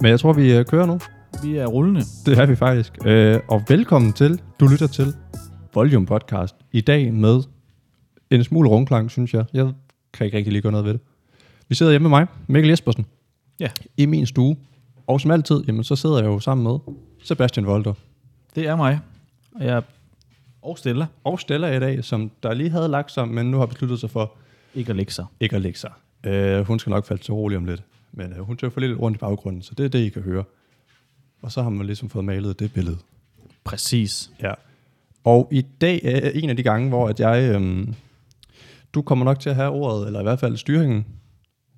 Men jeg tror, vi øh, kører nu. Vi er rullende. Det er vi faktisk. Øh, og velkommen til, du lytter til Volume Podcast. I dag med en smule rumklang, synes jeg. Jeg kan ikke rigtig lige gøre noget ved det. Vi sidder hjemme med mig, Mikkel Jespersen, Ja, i min stue. Og som altid, jamen, så sidder jeg jo sammen med Sebastian Volter. det er mig. Og jeg er og Stella. Og Stella i dag, som der lige havde lagt sig, men nu har besluttet sig for Ikke at lægge sig. ikke at lægge sig. Øh, hun skal nok falde til rolig om lidt, men øh, hun tøffer lidt rundt i baggrunden, så det er det, I kan høre. Og så har man ligesom fået malet det billede. Præcis. Ja. Og i dag er en af de gange, hvor at jeg... Øhm, du kommer nok til at have ordet, eller i hvert fald styringen.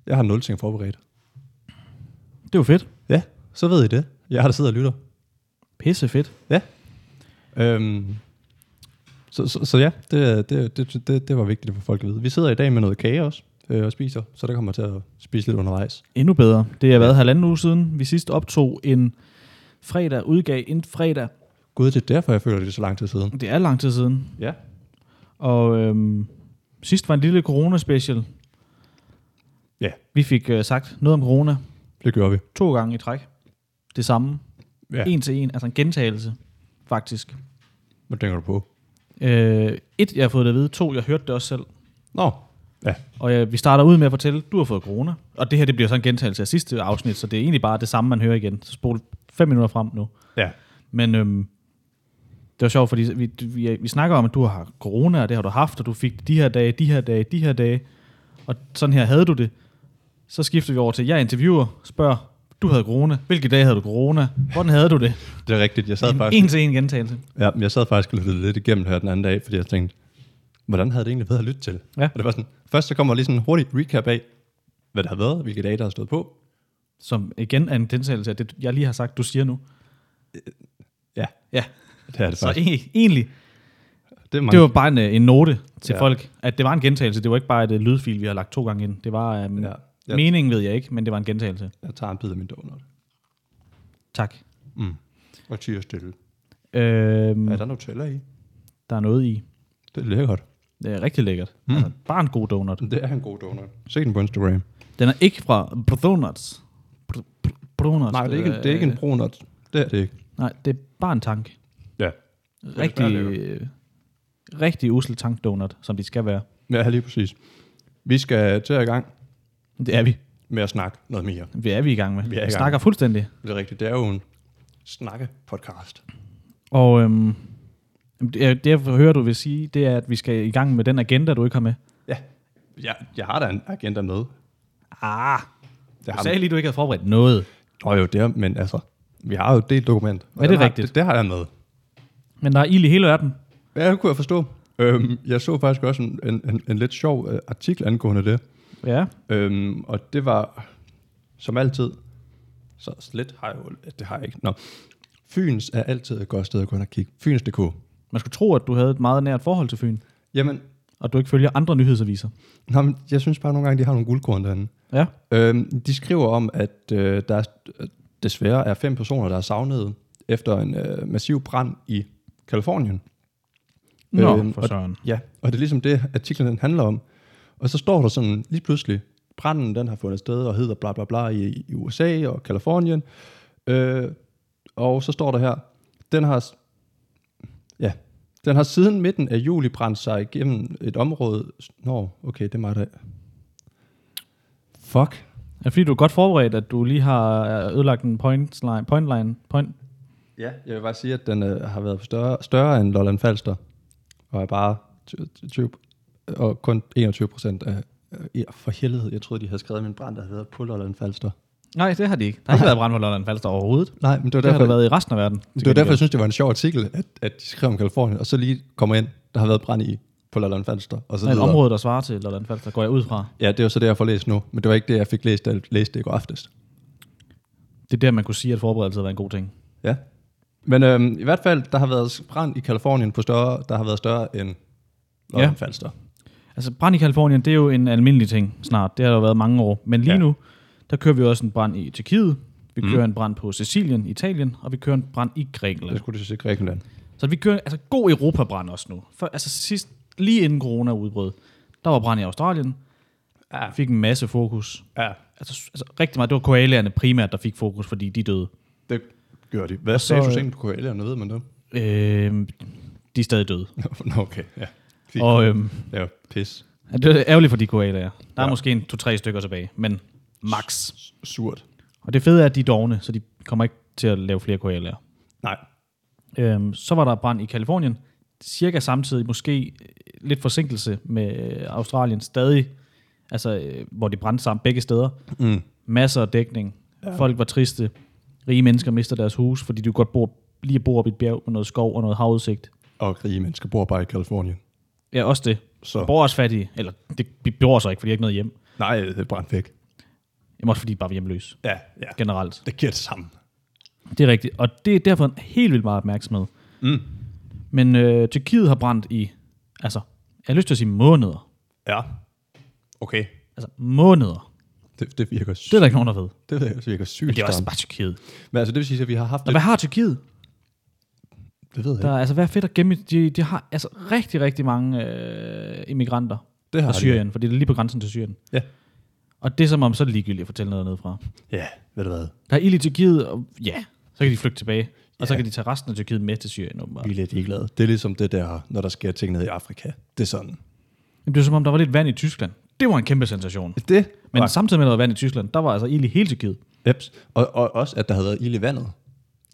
Jeg har nul ting forberedt. Det var fedt. Ja, så ved I det. Jeg har der sidder og lytter. Pisse fedt. Ja. Øhm, så, så, så ja, det, det, det, det, det var vigtigt for folk at vide. Vi sidder i dag med noget kage også øh, og spiser, så der kommer til at spise lidt undervejs. Endnu bedre. Det har været halvanden uge siden, vi sidst optog en fredag, udgav en fredag. Gud, det er derfor, jeg føler det er så lang tid siden. Det er lang tid siden. Ja. Og øhm, sidst var en lille corona-special. Ja. Vi fik øh, sagt noget om corona Det gør vi. to gange i træk. Det samme. Ja. En til en. Altså en gentagelse, faktisk. Hvad tænker du på? Øh, et, jeg har fået det at vide. To, jeg hørte det også selv. Nå, ja. Og øh, vi starter ud med at fortælle, du har fået corona. Og det her det bliver så en gentagelse af sidste afsnit, så det er egentlig bare det samme, man hører igen. Så spol fem minutter frem nu. Ja. Men øhm, det var sjovt, fordi vi, vi, vi snakker om, at du har corona, og det har du haft, og du fik det de her dage, de her dage, de her dage. Og sådan her havde du det. Så skifter vi over til, jeg interviewer, spørger, du havde corona. Hvilke dage havde du corona? Hvordan havde du det? Det er rigtigt. Jeg sad En, faktisk, en til en gentagelse. ja, men jeg sad faktisk og lyttede lidt igennem her den anden dag, fordi jeg tænkte, hvordan havde det egentlig været at lytte til? Ja. Og det var sådan, først så kommer lige sådan en hurtig recap af, hvad der har været, hvilke dage, der har stået på. Som igen er en gentagelse af det, jeg lige har sagt, du siger nu. Ja, Ja, det er det så faktisk. e- egentlig Det er mange, Det var bare en, øh, en note til Ja. ja. folk, at det var en gentagelse. Det var ikke bare et øh, lydfil, vi har lagt to gange ind. Det var um, Ja. ja. Ja. Ja. meningen, ved jeg ikke, men det var en gentagelse. Jeg tager en bid af min donut. Tak. Mm. Og tiger stille. Øhm, Mm. Er der Nutella i? Der er noget i. Det er lækkert. Det er rigtig lækkert. Hmm. Mm. Altså, bare en god donut. Det er en god donut. Se den på Instagram. Den er ikke fra Donuts. Br- br- Donuts. Nej, det er ikke, det er ikke en brunut. Det er det ikke. Øh, Nej, det er bare en tank. Ja. er Rigtig, svært øh, rigtig usel tankdonut, som de skal være. Ja, lige præcis. Vi skal til i gang Det er vi. med at snakke noget mere. Det er vi i gang med. Vi er i Vi gang. snakker fuldstændig. Det er rigtigt. Det er jo en snakke-podcast. Og øhm, det, jeg- det, jeg hører, du vil sige, det er, at vi skal i gang med den agenda, du ikke har med. Ja. Jeg, jeg har da en agenda med. Ah, Jeg du har sagde lige, du ikke havde forberedt noget. Nå jo, det er, men altså, vi har jo delt dokument. Og Er det den har- rigtigt? Det, det har jeg med. Men der er ild i hele verden. Ja, det kunne jeg forstå. Øhm, jeg så faktisk også en, en, en, en lidt sjov øh, artikel angående det. Ja. Øhm, og det var, som altid, så slet har jeg jo, det har jeg ikke. Nå. Fyns er altid et godt sted at gå ind og kigge. Fyns.dk. Man skulle tro, at du havde et meget nært forhold til Fyn, Jamen, og du ikke følger andre nyhedsaviser. nå, men jeg synes bare nogle gange, de har nogle guldkorn derinde. Ja. Øhm, de skriver om, at øh, der er, desværre er fem personer, der er savnet efter en øh, massiv brand i Kalifornien. Nå, Øhm, for og- søren. Ja, og det er ligesom det, artiklen den handler om. Og så står der sådan lige pludselig, branden den har fundet sted og hedder bla bla bla i, i USA og Kalifornien. Øh, og så står der her, den har, s- ja, den har siden midten af juli brændt sig igennem et område. Nå, okay, det er mig der. Fuck. Er det fordi, du er godt forberedt, at du lige har ødelagt en pointline? pointline point. Ja, jeg vil bare sige, at den øh, har været større, større end Lolland Falster, og er bare 20, og kun 21 procent af, øh, for helhed, jeg troede, de havde skrevet min brand, der havde været på Lolland Falster. Nej, det har de ikke. Der har ikke været brand på Lolland Falster overhovedet. Det, Nej, men det var det har derfor, der været i resten af verden. det var derfor jeg synes, det var en sjov artikel, at, at de skrev om Kalifornien, og så lige kommer ind, der har været brand i på Lolland Falster, og så Der er et videre. område, der svarer til Lolland Falster, går jeg ud fra. Ja, det var så det, jeg får læst nu, men det var ikke det, jeg fik læst, da jeg læste det i går aftes. Det er der, man kunne sige, at forberedelse var en god ting. Ja. Men øhm, i hvert fald, der har været brand i Kalifornien på større, der har været større end Lolland Falster. Altså brand i Kalifornien, det er jo en almindelig ting snart. Det har der jo været mange år. Men lige Ja. Mm. ja. nu, der kører vi også en brand i Tyrkiet. Vi kører en brand på Sicilien, Italien, og vi kører en brand i Det Grækenland. skulle du sige Grækenland. Så vi kører altså god Europabrand også nu. For, altså sidst, lige inden corona udbrød, der var brand i Australien. Ja. fik en masse fokus. Ja, Altså, altså rigtig meget. Det var koalaerne primært, der fik fokus, fordi de døde. det gør de. Hvad er så, øh, status egentlig på KL'erne, ved man det? Øh, de er stadig døde. Nå, okay, ja. Fint. Og øhm, Det er jo pis. det er ærgerligt for de koalaer. Der er Ja. ja. måske en to-tre stykker tilbage, men max. Surt. Og det fede er, at de er dogne, så de kommer ikke til at lave flere koalaer. Nej. Øhm, så var der brand i Kalifornien, cirka samtidig, måske øh, lidt forsinkelse med øh, Australien stadig, altså øh, hvor de brændte sammen begge steder. Mm. Masser af dækning. Ja. Folk var triste. Rige mennesker mister deres hus, fordi de godt bor, lige bor op i et bjerg med noget skov og noget havudsigt. Og rige mennesker bor bare i Kalifornien. Ja, også det. Så. Så. Bor også fattige. Eller, det, de bor så ikke, fordi de har ikke noget hjem. Nej, det er brændt væk. Jamen også fordi de bare var hjemløse Ja, ja. generelt. Det giver det samme. Det er rigtigt. Og det er derfor helt vildt meget opmærksomhed. Mm. Men øh, Tyrkiet har brændt i, altså, jeg har lyst til at sige måneder. Ja. Okay. Altså måneder. Det, det virker sygt. Det er der ikke nogen, der ved. Det, det virker sygt. Det er også stramt. bare Tyrkiet. Men altså, det vil sige, at vi har haft... Og hvad har Tyrkiet? det ved jeg ikke. Der er, altså, hvad er fedt at gemme? De, de har altså rigtig, rigtig mange øh, immigranter Det har fra de. Syrien, fordi det er lige på grænsen til Syrien. Ja. Og det er som om, så er det ligegyldigt at fortælle noget dernede fra. Ja, ved du hvad? Der er ild i Tyrkiet, og ja, så kan de flygte tilbage. Og så Ja. kan de tage resten af Tyrkiet med til Syrien, åbenbart. Vi er lidt ligeglade. Det er ligesom det der, når der sker ting nede i Afrika. Det er sådan. Jamen, det er som om, der var lidt vand i Tyskland. Det var en kæmpe sensation. Det? Men samtidig med, at der var vand i Tyskland, der var altså ild i hele Tyrkiet. Eps. Og, og også, at der havde været ild i vandet.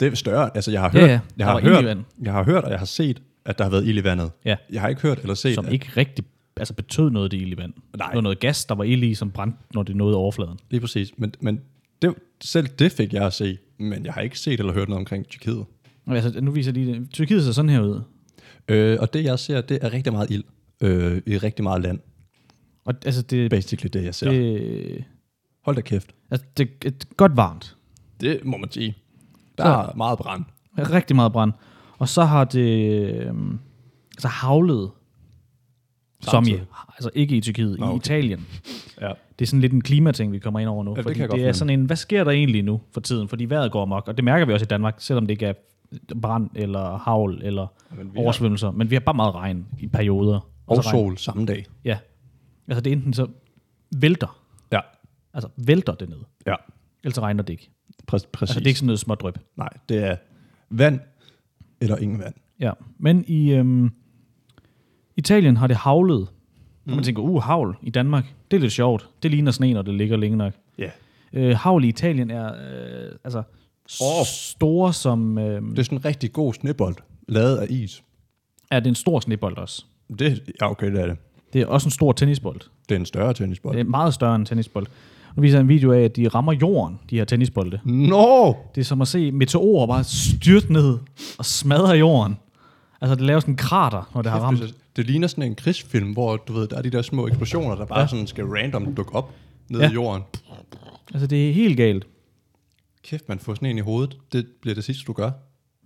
Det er større. Altså, jeg har Ja, hørt, ja. Der jeg, har var ild i hørt vandet. jeg har hørt, og jeg har set, at der har været ild i vandet. Ja. Jeg har ikke hørt eller set, som at, ikke rigtig altså betød noget, det ild i vand. Nej. Det var noget gas, der var ild i, som brændte, når det nåede overfladen. Lige præcis. Men, men det, selv det fik jeg at se, men jeg har ikke set eller hørt noget omkring Tyrkiet. Og Altså, nu viser jeg lige det. Tyrkiet ser sådan her ud. Øh, og det jeg ser, det er rigtig meget ild øh, i rigtig meget land. Og altså, det, Basically det jeg ser. Det. det, Hold da kæft. altså, det er godt varmt. Det må man sige. Der er meget brand. Rigtig meget brand. Og så har det øhm, altså havlet. Som Samtidig. i, altså ikke i Tyrkiet, Nå, i okay. Italien. Ja. Det er sådan lidt en klimating, vi kommer ind over nu. det fordi kan jeg godt det er fornemme. sådan en, hvad sker der egentlig nu for tiden? Fordi vejret går amok, og det mærker vi også i Danmark, selvom det ikke er brand eller havl eller Men vi har- oversvømmelser. Men vi har bare meget regn i perioder. Og Altså regn. sol samme dag. Ja. Altså det er enten så vælter, Ja. altså vælter det ned, Ja. ellers så regner det ikke. Præ- præcis. Altså det er ikke sådan noget smådryp. Nej, det er vand eller ingen vand. Ja, men i øhm, Italien har det havlet. Mm. Og man tænker, uh, havl i Danmark, det er lidt sjovt. Det ligner sne, når det ligger længe nok. Ja. Øh, havl i Italien er øh, altså Åh. oh. store som... Øh, Det er sådan en rigtig god snebold, lavet af is. er det en stor snebold også? Det, ja, okay, det er det. Det er også en stor tennisbold. Det er en større Det tennisbold. er meget større end en tennisbold. Nu viser jeg en video af, at de rammer jorden, de her tennisbolde. Nå! Det er som at se meteorer bare styrte ned og smadre jorden. Altså, det laver sådan en krater, når det har ramt. Det, det ligner sådan en krigsfilm, hvor du ved, der er de der små eksplosioner, der bare ja. sådan skal random dukke op ned ja. Ja. i jorden. Altså, det er helt galt. Kæft, man får sådan en i hovedet. Det bliver det sidste, du gør.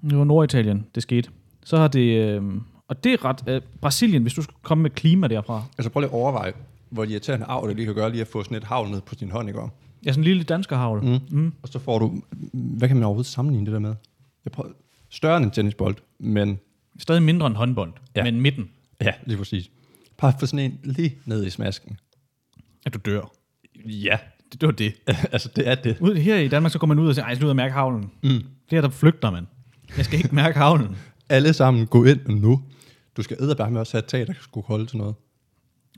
Det var Norditalien, det skete. Så har det... Øh, og det er ret... Øh, Brasilien, hvis du skulle komme med klima derfra. Altså prøv lige at overveje, hvor irriterende arv det lige kan gøre, lige at få sådan et havl ned på din hånd, ikke? om? Ja, sådan en lille danskerhavl. Mm. Mm. Og så får du, hvad kan man overhovedet sammenligne det der med? Jeg prøver, større end en tennisbold, men Stadig mindre end håndbold, Ja. ja. men midten, ja, lige præcis. Bare få sådan en lige ned i smasken. at du dør. Ja, Det, det var det. altså det er det. Ud, her i Danmark, så går man ud og siger, ej, jeg skal ud og mærke havlen. Mm. Det her, der flygter man. Jeg skal ikke mærke havlen. Alle sammen gå ind nu. Du skal æderberg med også have et tag, der kan skulle holde til noget.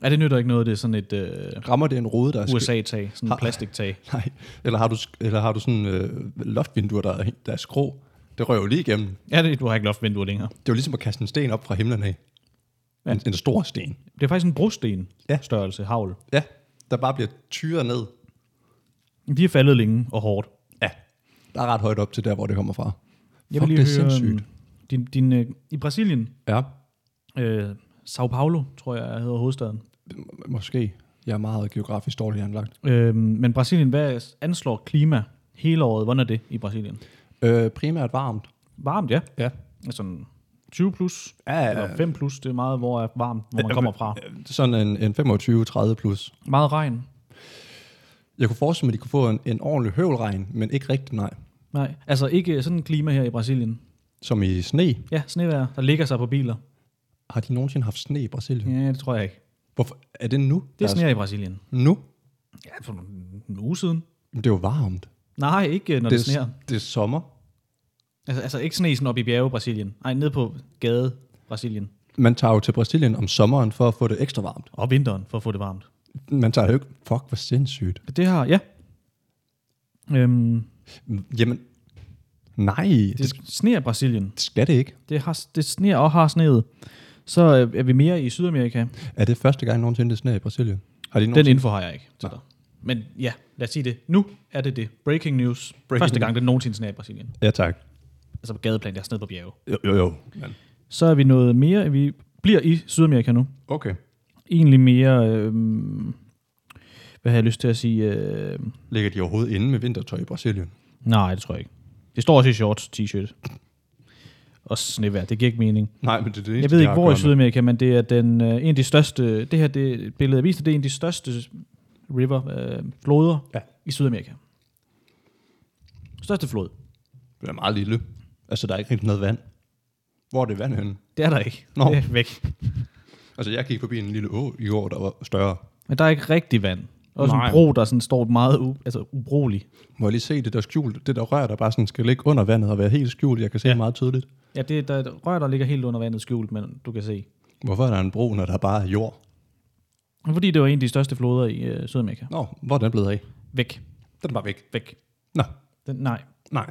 Ja, det nytter ikke noget, det er sådan et øh, Rammer det en rode, der er skæv- USA-tag, sådan et plastiktag. Nej, eller har du, sk- eller har du sådan øh, loftvinduer, der, er- der er skrå? Det rører jo lige igennem. Det Ja, det, du har ikke loftvinduer længere. er jo ligesom at kaste en sten op fra himlen af. Ja. Ja. En, en stor sten. Det er faktisk en brosten Ja. ja. størrelse, havl. Ja, der bare bliver tyret ned. De er faldet længe og hårdt. Ja. Der er ret højt op til der, hvor det kommer fra. Jeg vil Fuck, lige det er høre, sindssygt. øhm, Din, din, øh, I Brasilien, Ja, øh, Sao Paulo, tror jeg hedder hovedstaden. m- måske. Jeg er meget geografisk dårligt anlagt. Øh, men Brasilien, hvad anslår klima hele året? Hvordan er det i Brasilien? Øh, primært varmt. Varmt, ja. Ja. Sådan 20 plus, Ja, eller 5 plus, det er meget, hvor er varmt, hvor man kommer fra. Sådan en, en 25-30 plus. Meget regn. Jeg kunne forestille mig, at de kunne få en, en ordentlig høvlregn, men ikke rigtig nej. Nej, altså ikke sådan et klima her i Brasilien. Som i sne. Ja, snevejr, der ligger sig på biler. Har de nogensinde haft sne i Brasilien? Ja, det tror jeg ikke. Hvorfor? Er det nu? Mm. Det der sneer i Brasilien. Nu? Ja, for en uge siden. Men det er jo varmt. Nej, ikke øh, når det, det sneer. det er sommer. Altså, altså ikke snesen op i bjerge Brasilien. Nej, ned på gade Brasilien. Man tager jo til Brasilien om sommeren for at få det ekstra varmt. Og vinteren, for at få det varmt. Man tager jo ikke... Fuck, hvor sindssygt. Det har, ja. Øhm, Jamen, nej, det, det sneer i Brasilien. det skal det ikke. Det, har, det sneer og har sneet. Så øh, er vi mere i Sydamerika. Er det første gang nogensinde, det sneer i Brasilien? Har de Den nogensinde... info har jeg ikke til dig. Men ja, lad os sige det. Nu er det det. Breaking news. Breaking Første gang, det nogensinde sneer i Brasilien. Ja, tak. Altså på gadeplan, der er sned på bjerge. Jo, jo, jo. Men. Så er vi noget mere. Vi bliver i Sydamerika nu. Okay. Egentlig mere... Øh, hvad har jeg lyst til at sige? Øh, Ligger de overhovedet inde med vintertøj i Brasilien? nej, det tror jeg ikke. Det står også i shorts, t-shirt. Og snevær. Det giver ikke mening. Nej, men det er det Jeg eneste, ved de ikke, har hvor i at gøre med. Sydamerika, men det er den, øh, en af de største, det her det, billede, jeg viste, det er en af de største river, øh, floder Ja. ja. i Sydamerika. Største flod. Den er meget lille. Altså, der er ikke rigtig noget vand. Hvor er det vand henne? Det er der ikke. Nå. Det er væk. Altså, jeg gik forbi en lille å i år, der var større. Men der er ikke rigtig vand. Også Nej. Nej. en bro, der sådan står meget u, altså, ubrugelig. Må jeg lige se det der skjult, det der rør, der bare sådan skal ligge under vandet og være helt skjult. Jeg kan se ja. meget tydeligt. Ja, det, der er et rør, der ligger helt under vandet skjult, men du kan se. Hvorfor er der en bro, når der bare er jord? Fordi det var en af de største floder i øh, Sydamerika. Nå, hvor er den blevet af? Væk. Den er bare væk. Væk. Nå, Den, nej. nej.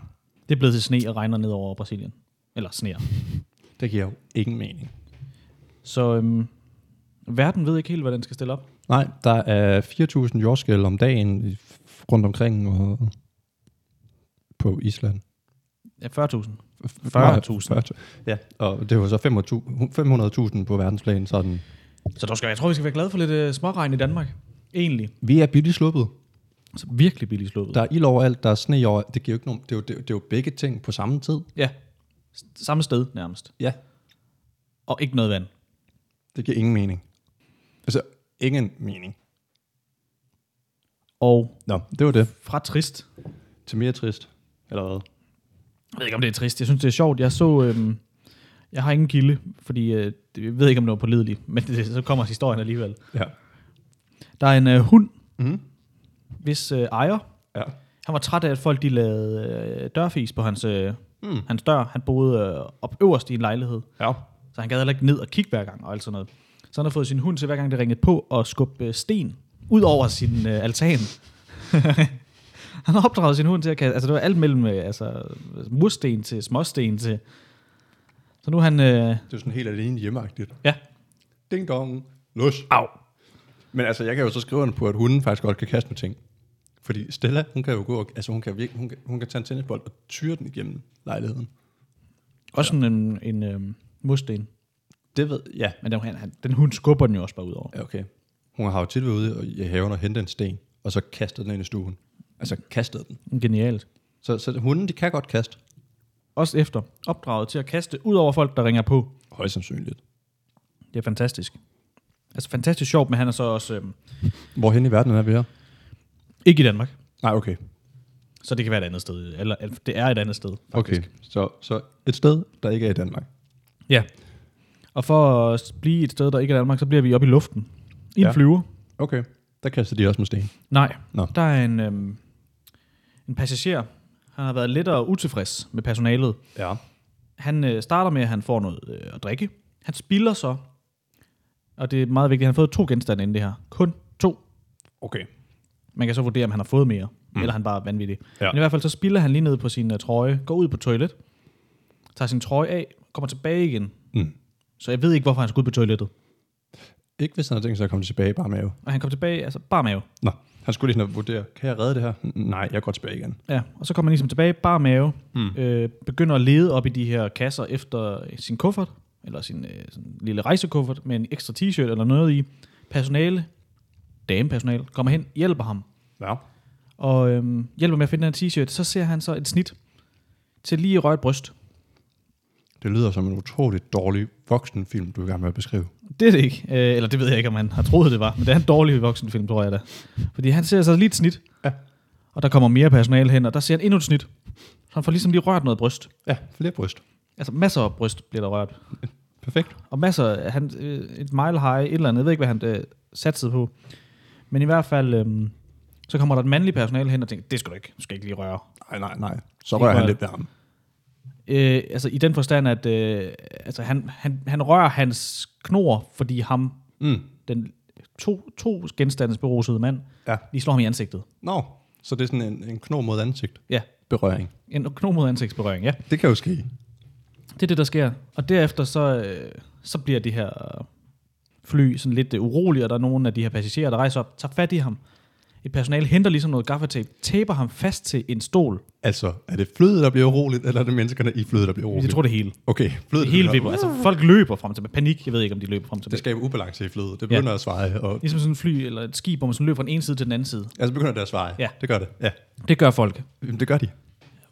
Det er blevet til sne og regner ned over Brasilien. Eller sneer. Det giver jo ingen mening. Så øhm, verden ved ikke helt, hvad den skal stille op. Nej, der er 4.000 jordskæl om dagen i- rundt omkring og på Island. Ja, 40.000. 40.000. 40.000. Ja, og det var så 500.000 på verdensplan. Sådan. Så der skal, jeg tror, vi skal være glade for lidt uh, småregn i Danmark. Egentlig. Vi er billigt sluppet. Så virkelig billigt sluppet. Der er ild overalt, der er sne over. Det, giver jo ikke nogen, det, er jo, det, er jo- det er jo begge ting på samme tid. Ja. S- Samme sted nærmest. Ja. Og ikke noget vand. Det giver ingen mening. Altså, ingen mening. Og Nå, det var det. fra trist. Til mere trist. Eller hvad? Jeg ved ikke, om det er trist. Jeg synes, det er sjovt. Jeg så... Øhm, jeg har ingen kilde, fordi øh, det- jeg ved ikke, om det var pålideligt, men det, så kommer historien alligevel. Ja. Der er en øh, hund, Mm. hvis øh, ejer, Ja. han var træt af, at folk de lavede øh, dørfis på hans, øh, Mm. hans dør. Han boede øh, op øverst i en lejlighed. Ja. Så han gad heller ikke ned og kigge hver gang og alt sådan noget. Så han har fået sin hund til hver gang, det ringede på, at skubbe øh, sten ud over sin øh, altan. han har opdraget sin hund til at kaste, altså det var alt mellem øh, altså, mursten til småsten til. Så nu er han, øh, Det er sådan helt alene hjemmeagtigt. ja, Ding dong. Lus. Au. Men altså, jeg kan jo så skrive under på, at hunden faktisk godt kan kaste med ting. Fordi Stella, hun kan jo gå og, altså hun kan, virke, hun kan, hun kan tage en tennisbold og tyre den igennem lejligheden. også sådan en, en øh, mursten. Det ved ja. Men den, han, han, den hund skubber den jo også bare ud over. Ja, okay. Hun har jo tit været ude i haven og hentet en sten, og så kastet den ind i stuen. Altså kastet den. Genialt. Så, så hunden, de kan godt kaste. Også efter opdraget til at kaste ud over folk, der ringer på. Højst sandsynligt. Det er fantastisk. Altså fantastisk sjovt, men han er så også øh, Hvorhen i verden er vi her? ikke i Danmark. Nej, okay. Så det kan være et andet sted. Eller at det er et andet sted, faktisk. Okay, så, så et sted, der ikke er i Danmark. Ja. Og for at blive et sted, der ikke er Danmark, så bliver vi oppe i luften. I en Ja. ja. flyver. Okay, der kaster de også med sten. Nej. Nå. Der er en, øhm, en passager. Han har været lidt og utilfreds med personalet. Ja. Han øh, starter med, at han får noget øh, at drikke. Han spilder så. Og det er meget vigtigt. Han har fået to genstande inden det her. Kun to. Okay. Man kan så vurdere, om han har fået mere, mm. eller han bare er vanvittig. Ja. Ja. Men i hvert fald så spiller han lige ned på sin uh, trøje, går ud på toilet, tager sin trøje af, kommer tilbage igen. Mm. Så jeg ved ikke, hvorfor han skulle ud på toilettet. Ikke hvis han har tænkt sig at komme tilbage bare mave. Og han kom tilbage, altså bare mave. Nå, han skulle lige sådan vurdere, kan jeg redde det her? N- Nej, jeg går tilbage igen. Ja, og så kommer han ligesom tilbage, bare mave, mm. øh, begynder at lede op i de her kasser efter sin kuffert, eller sin øh, sådan lille rejsekuffert med en ekstra t-shirt eller noget i. Personale, damepersonale, kommer hen, hjælper ham. Ja. og øhm, hjælper med at finde den her t-shirt, så ser han så et snit til lige at røre et bryst. Det lyder som en utrolig dårlig voksenfilm, du er i gang med at beskrive. Det er det ikke. Øh, eller det ved jeg ikke, om han har troet, det var. Men det er en dårlig voksenfilm, tror jeg da. Fordi han ser så lige et snit. Ja. Og der kommer mere personale hen, og der ser han endnu et snit. Så han får ligesom lige rørt noget bryst. Ja, flere bryst. Altså masser af bryst bliver der rørt. Perfekt. Og masser, han, øh, et mile high, et eller andet, jeg ved ikke, hvad han øh, satsede på. Men i hvert fald, øh, så kommer der et mandligt personale hen og tænker, det skal du ikke, du skal ikke lige røre. Nej, nej, nej. Så Ikke rører han rørt. lidt ved ham. Øh, altså i den forstand, at øh, altså, han, han, han rører hans knor, fordi ham, Mm. den to, to genstandes berusede mand, Ja. lige slår ham i ansigtet. Nå, så det er sådan en, en knog mod ansigt. Ja, Berøring. en knog mod ansigtsberøring, ja. Det kan jo ske. Det er det, der sker. Og derefter så, øh, så bliver det her øh, fly sådan lidt øh, urolig, og der er nogle af de her passagerer, der rejser op, tager fat i ham. Et personale henter ligesom noget gaffatape, taper ham fast til en stol. Altså, er det flødet, der bliver uroligt, eller er det menneskerne i flødet, der bliver uroligt? Jeg tror det hele. Okay, flødet Det hele bliver- vipper. Altså folk løber frem til panik. Jeg ved ikke, om de løber frem til Det skaber ubalance i flødet. Det begynder ja. at svare, og Ligesom sådan et fly eller et skib, hvor man sådan løber fra den ene side til den anden side. Altså begynder det at svare. Ja. Det gør det. Ja. Det gør folk Jamen, det gør de.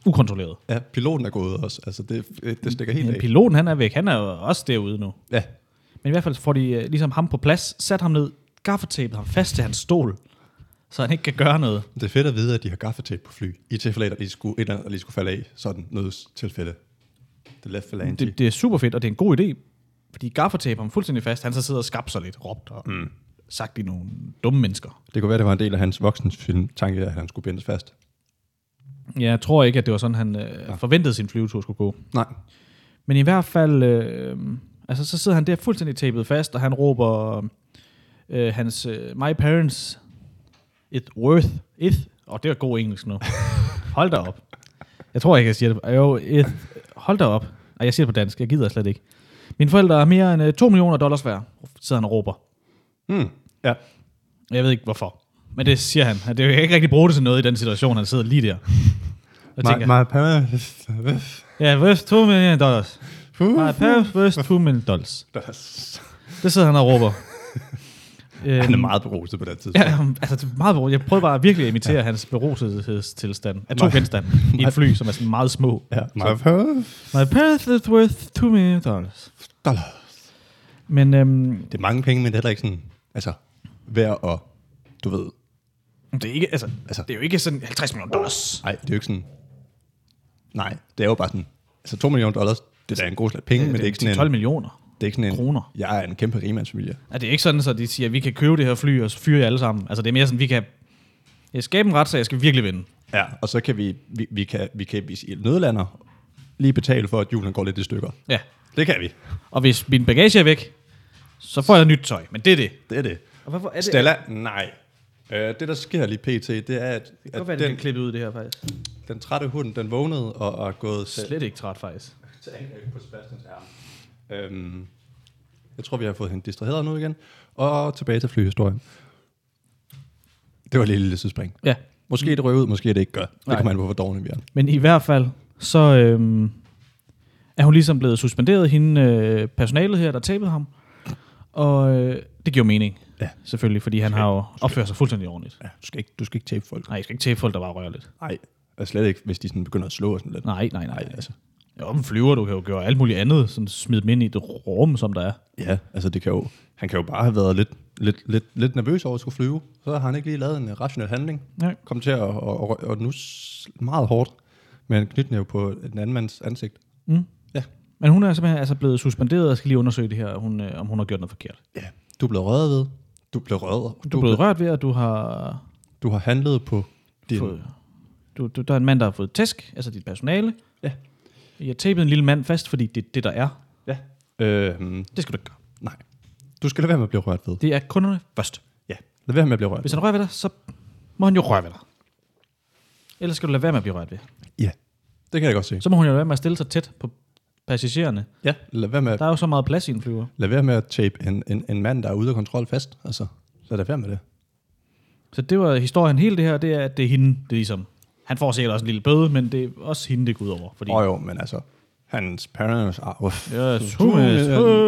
ukontrolleret. Ja, piloten er gået også. Altså det, det stikker helt Men af. piloten han er væk. Han er jo også derude nu. Ja. Men i hvert fald får de øh, ligesom ham på plads, sat ham ned, gaffetapet ham fast til hans stol, så han ikke kan gøre noget. Det er fedt at vide, at de har gaffatape på fly. I tilfælde, af, at de skulle, et eller andet, der lige skulle falde af. Sådan noget tilfælde. The left phalange. Det, det er super fedt, og det er en god idé, fordi gaffatape ham fuldstændig fast. Han så sidder og skabte sig lidt, råbt og mm. sagt de nogle dumme mennesker. det kunne være, det var en del af hans voksenfilm, tanke, at han skulle bindes fast. Ja, jeg tror ikke, at det var sådan, han øh, forventede sin flyvetur skulle gå. Nej. Men i hvert fald, øh, altså så sidder han der fuldstændig tapet fast, og han råber øh, hans, øh, my parents, it worth, it, og oh, det er god engelsk nu. Hold da op. Jeg tror ikke, jeg siger det. på- Jo, it, hold da op. Ej, jeg siger det på dansk, jeg gider slet ikke. Mine forældre er mere end øh, 2 millioner dollars værd, sidder han og råber. Mm. Ja. Jeg ved ikke hvorfor. Men det siger han. Det kan ikke rigtig bruge det til noget i den situation, han sidder lige der. Jeg My, tænker, my parents. ja, worth 2 million dollars. My parents worth 2 million dollars. Det sidder han og råber. øhm, Han er meget beruset på det tidspunkt. Ja, um, altså det er meget beruset. Jeg prøver bare virkelig at imitere ja. hans beruselsestilstand af to Nej. genstande i et fly, som er sådan meget små. Ja. My parents. My parents is worth 2 million dollars. Dollar. Men øhm, Det er mange penge, men det er heller ikke sådan, altså, værd at, du ved, det, er ikke, altså, Altså- altså, det er jo ikke sådan 50 millioner dollars. Nej, det er jo ikke sådan... Nej, det er jo bare sådan... Altså 2 millioner dollars, det er da en god slat penge, men det er ikke sådan 12 en... millioner. Det er ikke sådan en kroner. Jeg er en kæmpe rigmandsfamilie. Er det er ikke sådan, så de siger, at vi kan købe det her fly, og så fyre jer alle sammen? Altså det er mere sådan, vi kan jeg skabe en ret, så jeg skal virkelig vinde. Ja, og så kan vi, vi, vi kan, vi kan hvis I nødlander, lige betale for, at julen går lidt i stykker. Ja. Det kan vi. Og hvis min bagage er væk, så får jeg nyt tøj. Men det er det. Det er det. Og hvorfor er det? Stella, nej. Øh, det, der sker lige pt, det er, at, at Hvorfor er den, det, den den, klippet ud, det her faktisk? den trætte hund, den vågnede og, og er gået selv Slet ikke træt, faktisk. til angreb på Sebastians arm. Øhm, jeg tror, vi har fået hende distraheret nu igen. Og tilbage til flyhistorien. Det var et lille, lille sidespring. Ja, Måske det røver ud, måske det ikke gør. Det Nej. kommer an på, hvor dårlige vi er. men i hvert fald, så øhm, er hun ligesom blevet suspenderet, hende øh, personalet her, der tabede ham. Og øh, det giver jo mening, Ja. selvfølgelig, fordi han har jo opført sig fuldstændig ordentligt. Ja, du, skal ikke, du skal ikke tabe folk. Nej, jeg skal ikke tabe folk, der bare rører lidt. Nej, altså slet ikke, hvis de sådan begynder at slå og sådan lidt. Nej, nej, nej. Nej, altså. Jo, men flyver, du kan jo gøre alt muligt andet, sådan smide dem ind i et rum, som der er. Ja, altså det kan jo, han kan jo bare have været lidt, lidt, lidt, lidt nervøs over at skulle flyve. Så har han ikke lige lavet en øh, rationel handling. Nej. Kom til at, at, at, at nusse meget hårdt med en knytnæve på den anden mands ansigt. Mm. Ja. Men hun er simpelthen altså blevet suspenderet, og skal lige undersøge det her, hun, øh, om hun har gjort noget forkert. Ja, du er blevet røget ved. Du blev røget. Du er blevet rørt ved, at du har du har handlet på din... fået, du, du, der er en mand, der har fået tæsk, altså dit personale. Ja. Jeg tapede en lille mand fast, fordi det er det, der er. Ja. Øh, Det skal du ikke gøre. nej. Du skal lade være med at blive rørt ved. Det er kunderne først. Ja. Lad være med at blive rørt. Hvis han rører ved dig, så må han jo røre ved dig. Ellers skal du lade være med at blive rørt ved. Ja. Det kan jeg godt se. Så må hun jo lade være med at stille sig tæt på passagererne. Ja. Lad være med at Der er jo så meget plads i en flyver. Lad være med at tape en, en, en mand, der er ude af kontrol fast. Altså, lad da være med det. Så det var historien. Hele det her, det er, at det er hende, det er ligesom... Han får sikkert også en lille bøde, men det er også hende, det går ud over. Fordi Åh oh, jo, men altså, hans parents are... Uff. Ja, 2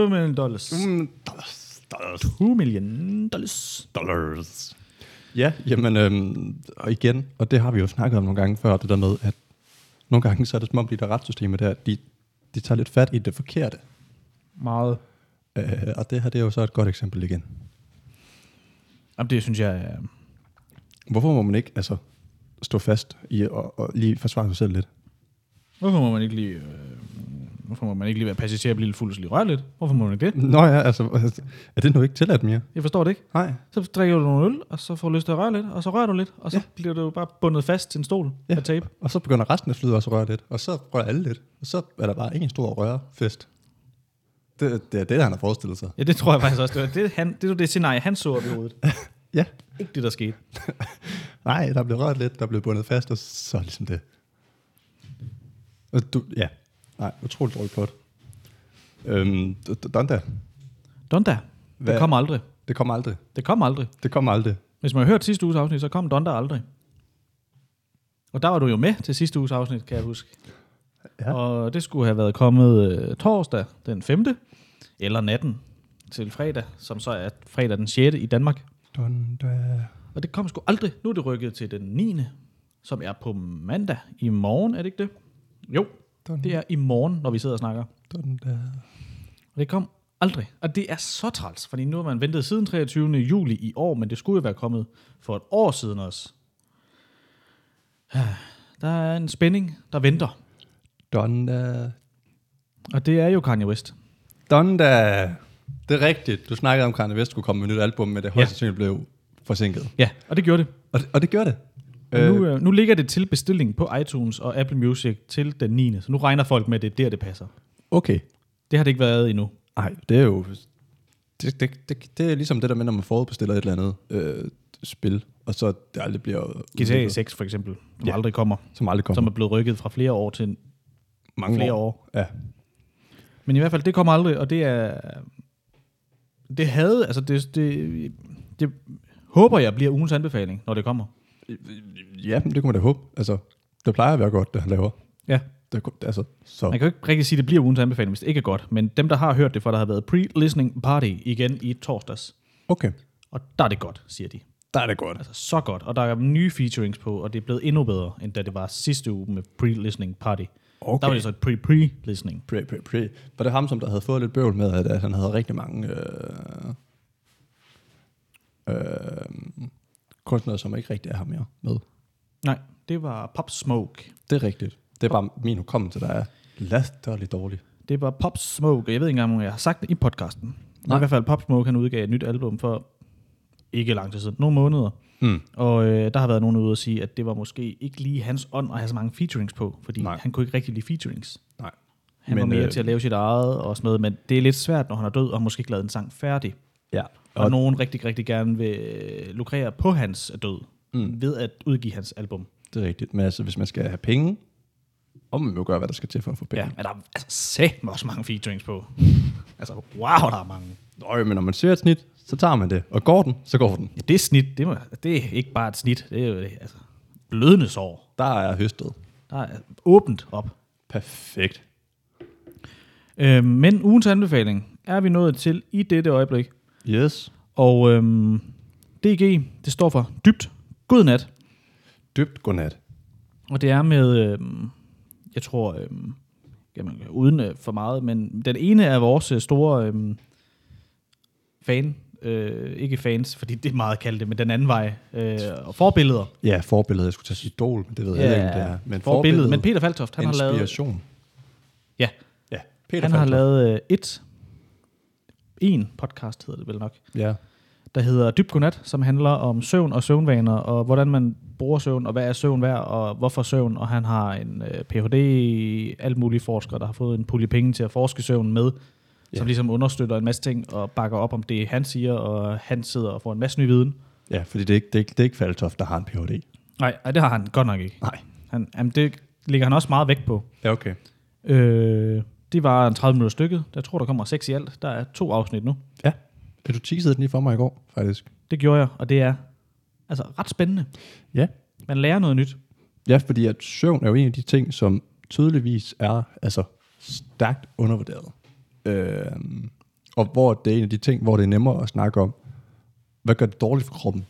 million dollars. Mm, dollars, dollars, 2 million dollars. dollars. Ja, jamen, øhm, og igen, og det har vi jo snakket om nogle gange før, det der med, at nogle gange så er det som om, de der retssystemer der, de, de tager lidt fat i det forkerte. Meget. Øh, og det her, det er jo så et godt eksempel igen. Jamen, det synes jeg er... Hvorfor må man ikke, altså, stå fast i og, og lige forsvare sig selv lidt? Hvorfor må man ikke lige øh, Hvorfor må man ikke lige være passager og blive lidt fuld og så lige røre lidt? Hvorfor må man ikke det? Nå ja, altså, er det nu ikke tilladt mere? Jeg forstår det ikke. Nej. Så drikker du nogle øl, og så får du lyst til at røre lidt, og så rører du lidt, og så ja. bliver du bare bundet fast til en stol ja. Ja. af tape. Og så begynder resten af flyet også at røre lidt, og så rører alle lidt, og så er der bare en stor rørefest. Det, det er det, han har forestillet sig. Ja, det tror jeg faktisk også. Det var det, han, det, var det scenarie, han så op i hovedet. Ja, Ikke det, der skete. nej, der blev rørt lidt, der blev bundet fast, og så er ligesom det. Og du, ja, nej, utroligt dårligt plot. Øhm, d- d- Donda, Donda. Hvad? Hvad- Det kom aldrig. det kommer aldrig. Det kom aldrig. Det kommer aldrig. Hvis man har hørt sidste uges afsnit, så kom Donda aldrig. Og der var du jo med til sidste uges afsnit, kan jeg huske. Ja. Og det skulle have været kommet øh, torsdag den 5. eller natten til fredag, som så er fredag den 6. i Danmark. Donda. Og det kom sgu aldrig. Nu er det rykket til den 9. som er på mandag i morgen, er det ikke det? Jo, Donda. det er i morgen, når vi sidder og snakker. Donda. Og det kom aldrig. Og det er så træls, fordi nu har man ventet siden 23. juli i år, men det skulle jo være kommet for et år siden også. Ah, Der er en spænding, der venter. Donda. Og det er jo Kanye West. Donda. Det er rigtigt. Du snakkede om, at Kanye West skulle komme med et nyt album, men det højst Ja. sandsynligt blev forsinket. Ja, og det gjorde det. Og det, og det gjorde det. Og nu, øh, nu ligger det til bestilling på iTunes og Apple Music til den 9. Så nu regner folk med, at det er der, det passer. Øh, okay. Det har det ikke været endnu. Nej, det er jo... Det, det, det, det er ligesom det der med, når man forudbestiller et eller andet øh, spil, og så det aldrig bliver... GTA udviklet, 6 for eksempel, som ja. Ja. aldrig kommer, Som aldrig kommer. som er blevet rykket fra flere år til mange flere år. Ja. Men i hvert fald, det kommer aldrig, og det er... Det havde, altså det, det, det håber jeg bliver ugens anbefaling, når det kommer. ja, men det kunne man da håbe. Altså, det plejer at være godt, det han laver. Ja. Det, kunne- altså, så... Man kan jo ikke rigtig sige, at det bliver ugens anbefaling, hvis det ikke er godt. Men dem, der har hørt det, for der har været pre-listening party igen i torsdags. Okay, Og der er det godt, siger de. der er det godt. Altså så godt. Og der er nye featurings på, og det er blevet endnu bedre, end da det var sidste uge med pre-listening party. Okay. Der var det så et pre-pre-listening. Pre, pre, pre. Var det ham, som der havde fået lidt bøvl med, at, at han havde rigtig mange øh, øh, kunstnere, som ikke rigtig er ham mere med? Nej, det var Pop Smoke. Det er rigtigt. Det er bare min hukommelse, der er latterligt dårlig. Det var Pop Smoke, og jeg ved ikke engang, om jeg har sagt det i podcasten. Men Nej. i hvert fald, Pop Smoke han udgav et nyt album for ikke lang tid siden, nogle måneder. Mm. Og øh, der har været nogen ude og sige, at det var måske ikke lige hans ånd at have så mange featurings på, fordi Nej. Nej. han kunne ikke rigtig lide featurings. Nej. Han men, Men, var mere øh, øh, til at lave sit eget og sådan noget, men det er lidt svært, når han er død, og har måske ikke lavet en sang færdig. Ja. Og, og nogen rigtig, rigtig gerne vil øh, lukrere på hans død, mm. ved at udgive hans album. Det er rigtigt, men altså, hvis man skal have penge, og man må gøre, hvad der skal til for at få penge. Ja, Ja. men der er altså, sæt også mange featurings på. altså, wow, der er mange. Nøj, men når man ser et snit, så tager man det. Og går den, så går den. Ja, det er snit. Det, må, det er ikke bare et snit. Det er jo altså, blødende sår. Der er høstet. Der er åbent op. Perfekt. Øh, men ugens anbefaling er vi nået til i dette øjeblik. Yes. Og øhm, DG, det står for dybt godnat. Dybt godnat. Og det er med, øhm, jeg tror, øhm, jamen, uden øh, for meget, men den ene af vores øh, store øhm, fan, øh, ikke fans, fordi det er meget at kalde det, men den anden vej, øh, og forbilleder. Ja, forbillede. Jeg skulle tage sige idol, men det ved jeg ikke, om det er. men forbillede. Men Peter Faltoft, han har lavet Inspiration. Ja, Ja, Peter han har Falk. lavet øh, et, en podcast hedder det vel nok, Ja. der hedder Dybt Godnat, som handler om søvn og søvnvaner, og hvordan man bruger søvn, og hvad er søvn værd, og hvorfor søvn, og han har en øh, Ph.D. alt mulige forskere, der har fået en pulje penge til at forske søvn med, ja. som Ja. ligesom understøtter en masse ting, og bakker op om det, han siger, og han sidder og får en masse ny viden. ja, fordi det er, ikke, det, er ikke, det er ikke Faltoft, der har en Ph.D. Nej, ej, det har han godt nok ikke. Nej. Han, jamen, det ligger han også meget vægt på. Ja, okay. Øh, det var en 30 minutter stykket. Jeg tror, der kommer seks i alt. Der er to afsnit nu. Ja. Du teasede den lige for mig i går, faktisk. Det gjorde jeg, og det er altså ret spændende. Ja. Man lærer noget nyt. Ja, fordi at søvn er jo en af de ting, som tydeligvis er altså, stærkt undervurderet. Øh, og hvor det er en af de ting, hvor det er nemmere at snakke om, hvad gør det dårligt for kroppen,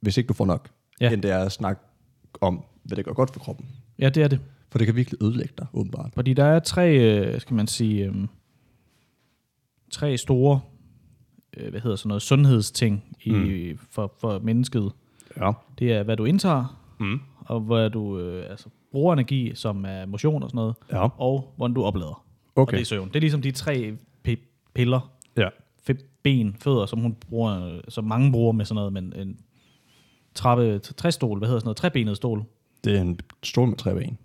hvis ikke du får nok, Ja. ja. end det er at snakke om, hvad det gør godt for kroppen. Ja, det er det. For det kan virkelig ødelægge dig, åbenbart. Fordi der er tre, øh, skal man sige, øh, tre store, øh, hvad hedder sådan noget, sundhedsting i, mm. for, for mennesket. Ja. Det er, hvad du indtager, Mm. og hvad du øh, altså, bruger energi, som er motion og sådan noget, Ja. og hvordan du oplader. okay. og det er søvn. Det er ligesom de tre p- piller, Ja. fem ben, fødder, som hun bruger, øh, som mange bruger med sådan noget, men en trappe, t- træstol, hvad hedder sådan noget, trebenet stol. Det er en stol med tre ben.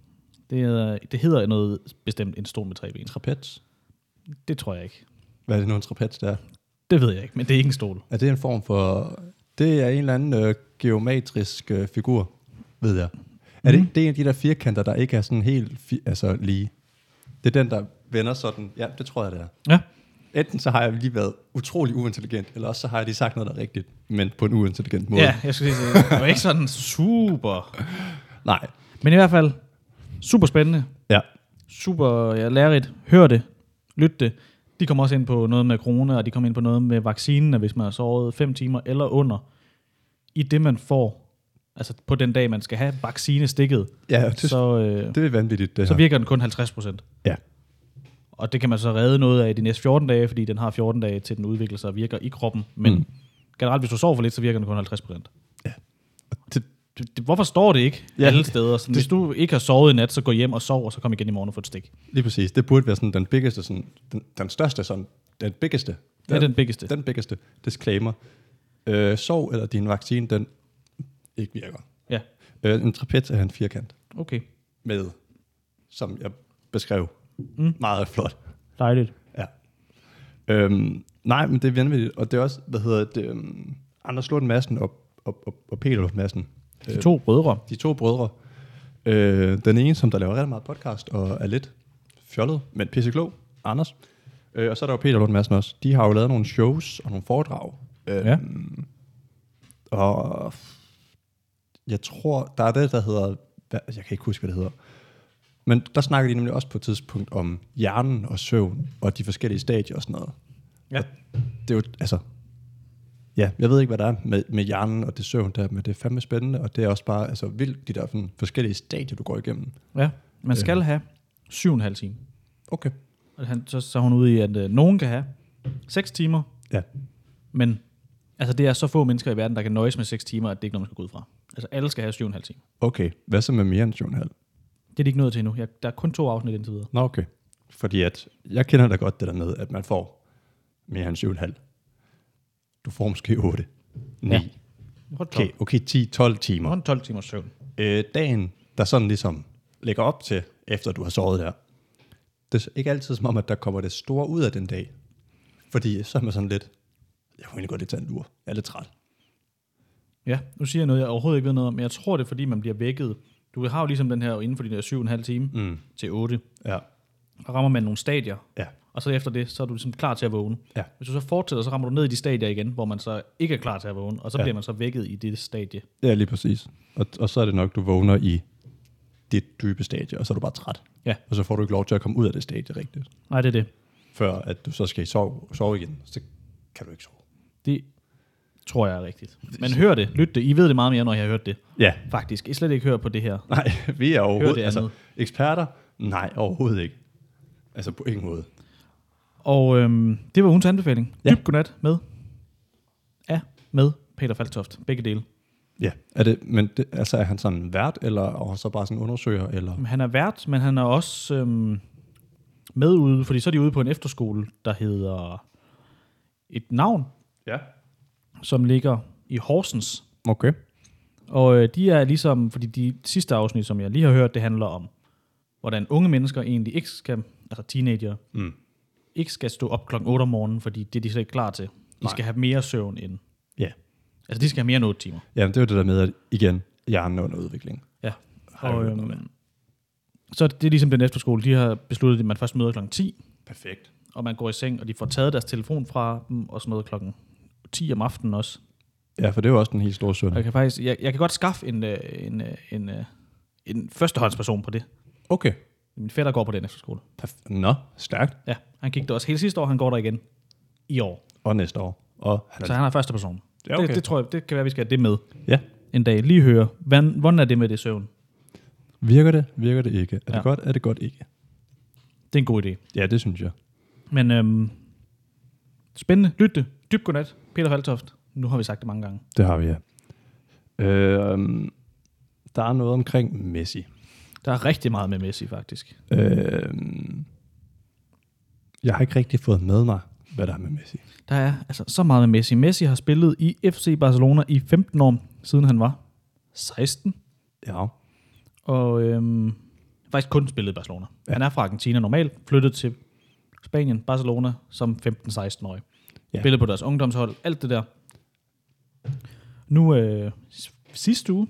Det, er, det hedder noget bestemt en stol med tre ben. Trapez. Det tror jeg ikke. Hvad er det nu, en trapez der? Det ved jeg ikke, men det er ikke en stol. Er det en form for... Det er en eller anden øh, geometrisk øh, figur, ved jeg. Er Mhm. det, ikke, det er en af de der firkanter, der ikke er sådan helt fi, altså lige. Det er den, der vender sådan. Ja, det tror jeg, det er. Ja. Enten så har jeg lige været utrolig uintelligent, eller også så har jeg lige sagt noget, der er rigtigt, men på en uintelligent måde. Ja, jeg skulle sige, det var ikke sådan super. Nej. Men i hvert fald, super spændende, Ja. super ja, lærerigt. Hør det, lyt det. De kommer også ind på noget med corona, og de kommer ind på noget med vaccinen, at hvis man har sovet 5 timer eller under, i det man får, altså på den dag, man skal have vaccinestikket, Ja, det, så, så, øh, det er vanvittigt, det så her. virker den kun 50 procent. ja. Og det kan man så redde noget af de næste 14 dage, fordi den har 14 dage til den udvikler sig og virker i kroppen. Men mm. generelt, hvis du sover for lidt, så virker den kun 50 procent. Det, Det- det- Hvorfor står det ikke ja, Ja, alle det- steder? Sådan, hvis du ikke har sovet i nat, så gå hjem og sov, og så kom igen i morgen og få et stik. lige præcis. Det burde være sådan den biggeste, sådan, den, den største, sådan, den biggeste. Det er den biggeste. Den biggeste disclaimer. Øh, sov eller din vaccine, den ikke virker. Ja, Øh, en trapez er en firkant okay. med, som jeg beskrev, mm. meget flot. Dejligt. Ja. Øhm, nej, men det er vanvittigt, og det er også, hvad hedder det, øhm, Anders Lund Madsen og, og, og, og Peter Lund Madsen. De to brødre. de to brødre. Øh, den ene, som der laver rigtig meget podcast og er lidt fjollet, men pisseklog, Anders. Øh, og så er der jo Peter Lund Madsen også. De har jo lavet nogle shows og nogle foredrag. Øh, Ja. Og jeg tror, der er det, der hedder... hvad- Jeg kan ikke huske, hvad det hedder. Men der snakker de nemlig også på et tidspunkt om hjernen og søvn og de forskellige stadier og sådan noget. Ja. Det er jo, altså... Ja, jeg ved ikke, hvad der er med, med hjernen og det søvn der, men det er fandme spændende, og det er også bare altså, vildt, de der sådan, forskellige stadier, du går igennem. ja. Man skal have 7,5 timer. Okay. Og han, så, så er hun ude i, at øh, nogen kan have 6 timer, Ja, men altså, det er så få mennesker i verden, der kan nøjes med 6 timer, at det ikke er noget, man skal gå ud fra. Altså alle skal have 7,5 timer. okay. Hvad så med mere end 7,5? Det er de ikke nået til endnu. Jeg, der er kun to afsnit indtil videre. Nå, okay. Fordi at, jeg kender da godt det der med, at man får mere end 7,5. Du får måske 8, 9, Ja. ja. Hold okay, okay 10, 12 timer. Hold 12 timers søvn. Øh, dagen, der sådan ligesom lægger op til, efter du har sovet der, det er så ikke altid som om, at der kommer det store ud af den dag. Fordi så er man sådan lidt, jeg kunne egentlig godt lidt tage en lur. Jeg er lidt træt. Ja, nu siger jeg noget, jeg overhovedet ikke ved noget om, men jeg tror, det er, fordi man bliver vækket. Du har jo ligesom den her inden for de der 7,5 time mm. til 8. Ja. Der rammer man nogle stadier, Ja. og så efter det, så er du ligesom klar til at vågne. Ja. Hvis du så fortsætter, så rammer du ned i de stadier igen, hvor man så ikke er klar til at vågne, og så ja. Ja. bliver man så vækket i det stadie. Ja, lige præcis. Og, og så er det nok, du vågner i dit dybe stadie, og så er du bare træt. Ja. Og så får du ikke lov til at komme ud af det stadie rigtigt. Nej, det er det. Før at du så skal sove, sove igen, så kan du ikke sove. Det tror jeg er rigtigt. Men hør det, lyt det. I ved det meget mere, når jeg har hørt det. Ja. Faktisk. I slet ikke hører på det her. Nej, vi er det overhovedet... Altså, andet. eksperter? Nej, overhovedet ikke. Altså på ingen måde. Og øhm, det var ugens anbefaling. Ja. Ja. Dyb godnat med. Ja, med Peter Faltoft. Begge dele. Ja, er det, men det, altså er han sådan vært, eller er han så bare sådan undersøger, eller... Han er vært, men han er også øhm, med ude, fordi så er de ude på en efterskole, der hedder et navn, Ja. som ligger i Horsens. Okay. Og øh, de er ligesom, fordi de sidste afsnit, som jeg lige har hørt, det handler om, hvordan unge mennesker egentlig ikke skal, altså teenager, Mm. ikke skal stå op klokken 8 om morgenen, fordi det er de slet ikke klar til. De Nej. Nej. skal have mere søvn end, Ja. altså de skal have mere end 8 timer. Jamen, det er jo det der med, at igen, hjernen er under udvikling. Ja. Har Og, jeg hørt noget øhm, så det er ligesom den efterskole, de har besluttet, at man først møder klokken 10, Perfekt. og man går i seng, og de får taget deres telefon fra dem, og sådan noget klokken 10 om aftenen også. Ja, for det er jo også den helt store Og søn. jeg kan faktisk, jeg, jeg kan godt skaffe en, øh, en, øh, en, øh, en førstehåndsperson på det. Okay. Min fætter går på den efterskole. Perf- Nå, stærkt. Ja, han gik der også hele sidste år, han går der igen i år. Og næste år. Og han er, Så han er første person. Ja, okay. det, det, tror jeg, det kan være, vi skal have det med ja. en dag. Lige høre, hvordan, hvordan er det med det søvn? Virker det? Virker det ikke? Er Ja. det godt? Er det godt ikke? Det er en god idé. Ja, det synes jeg. Men øhm, spændende. Lyt det. Dyb godnat. Peter Faltoft. Nu har vi sagt det mange gange. Det har vi, ja. Øh, der er noget omkring Messi. Der er rigtig meget med Messi, faktisk. Øh, Øhm. Jeg har ikke rigtig fået med mig, hvad der er med Messi. Der er altså så meget med Messi. Messi har spillet i FC Barcelona i 15 år, siden han var 16. Ja. Og øhm, faktisk kun spillet i Barcelona. Ja. Han er fra Argentina normalt, flyttet til Spanien, Barcelona, som 15-16-årig. Ja. Ja. Spillet på deres ungdomshold, alt det der. Nu øh, s- sidste uge,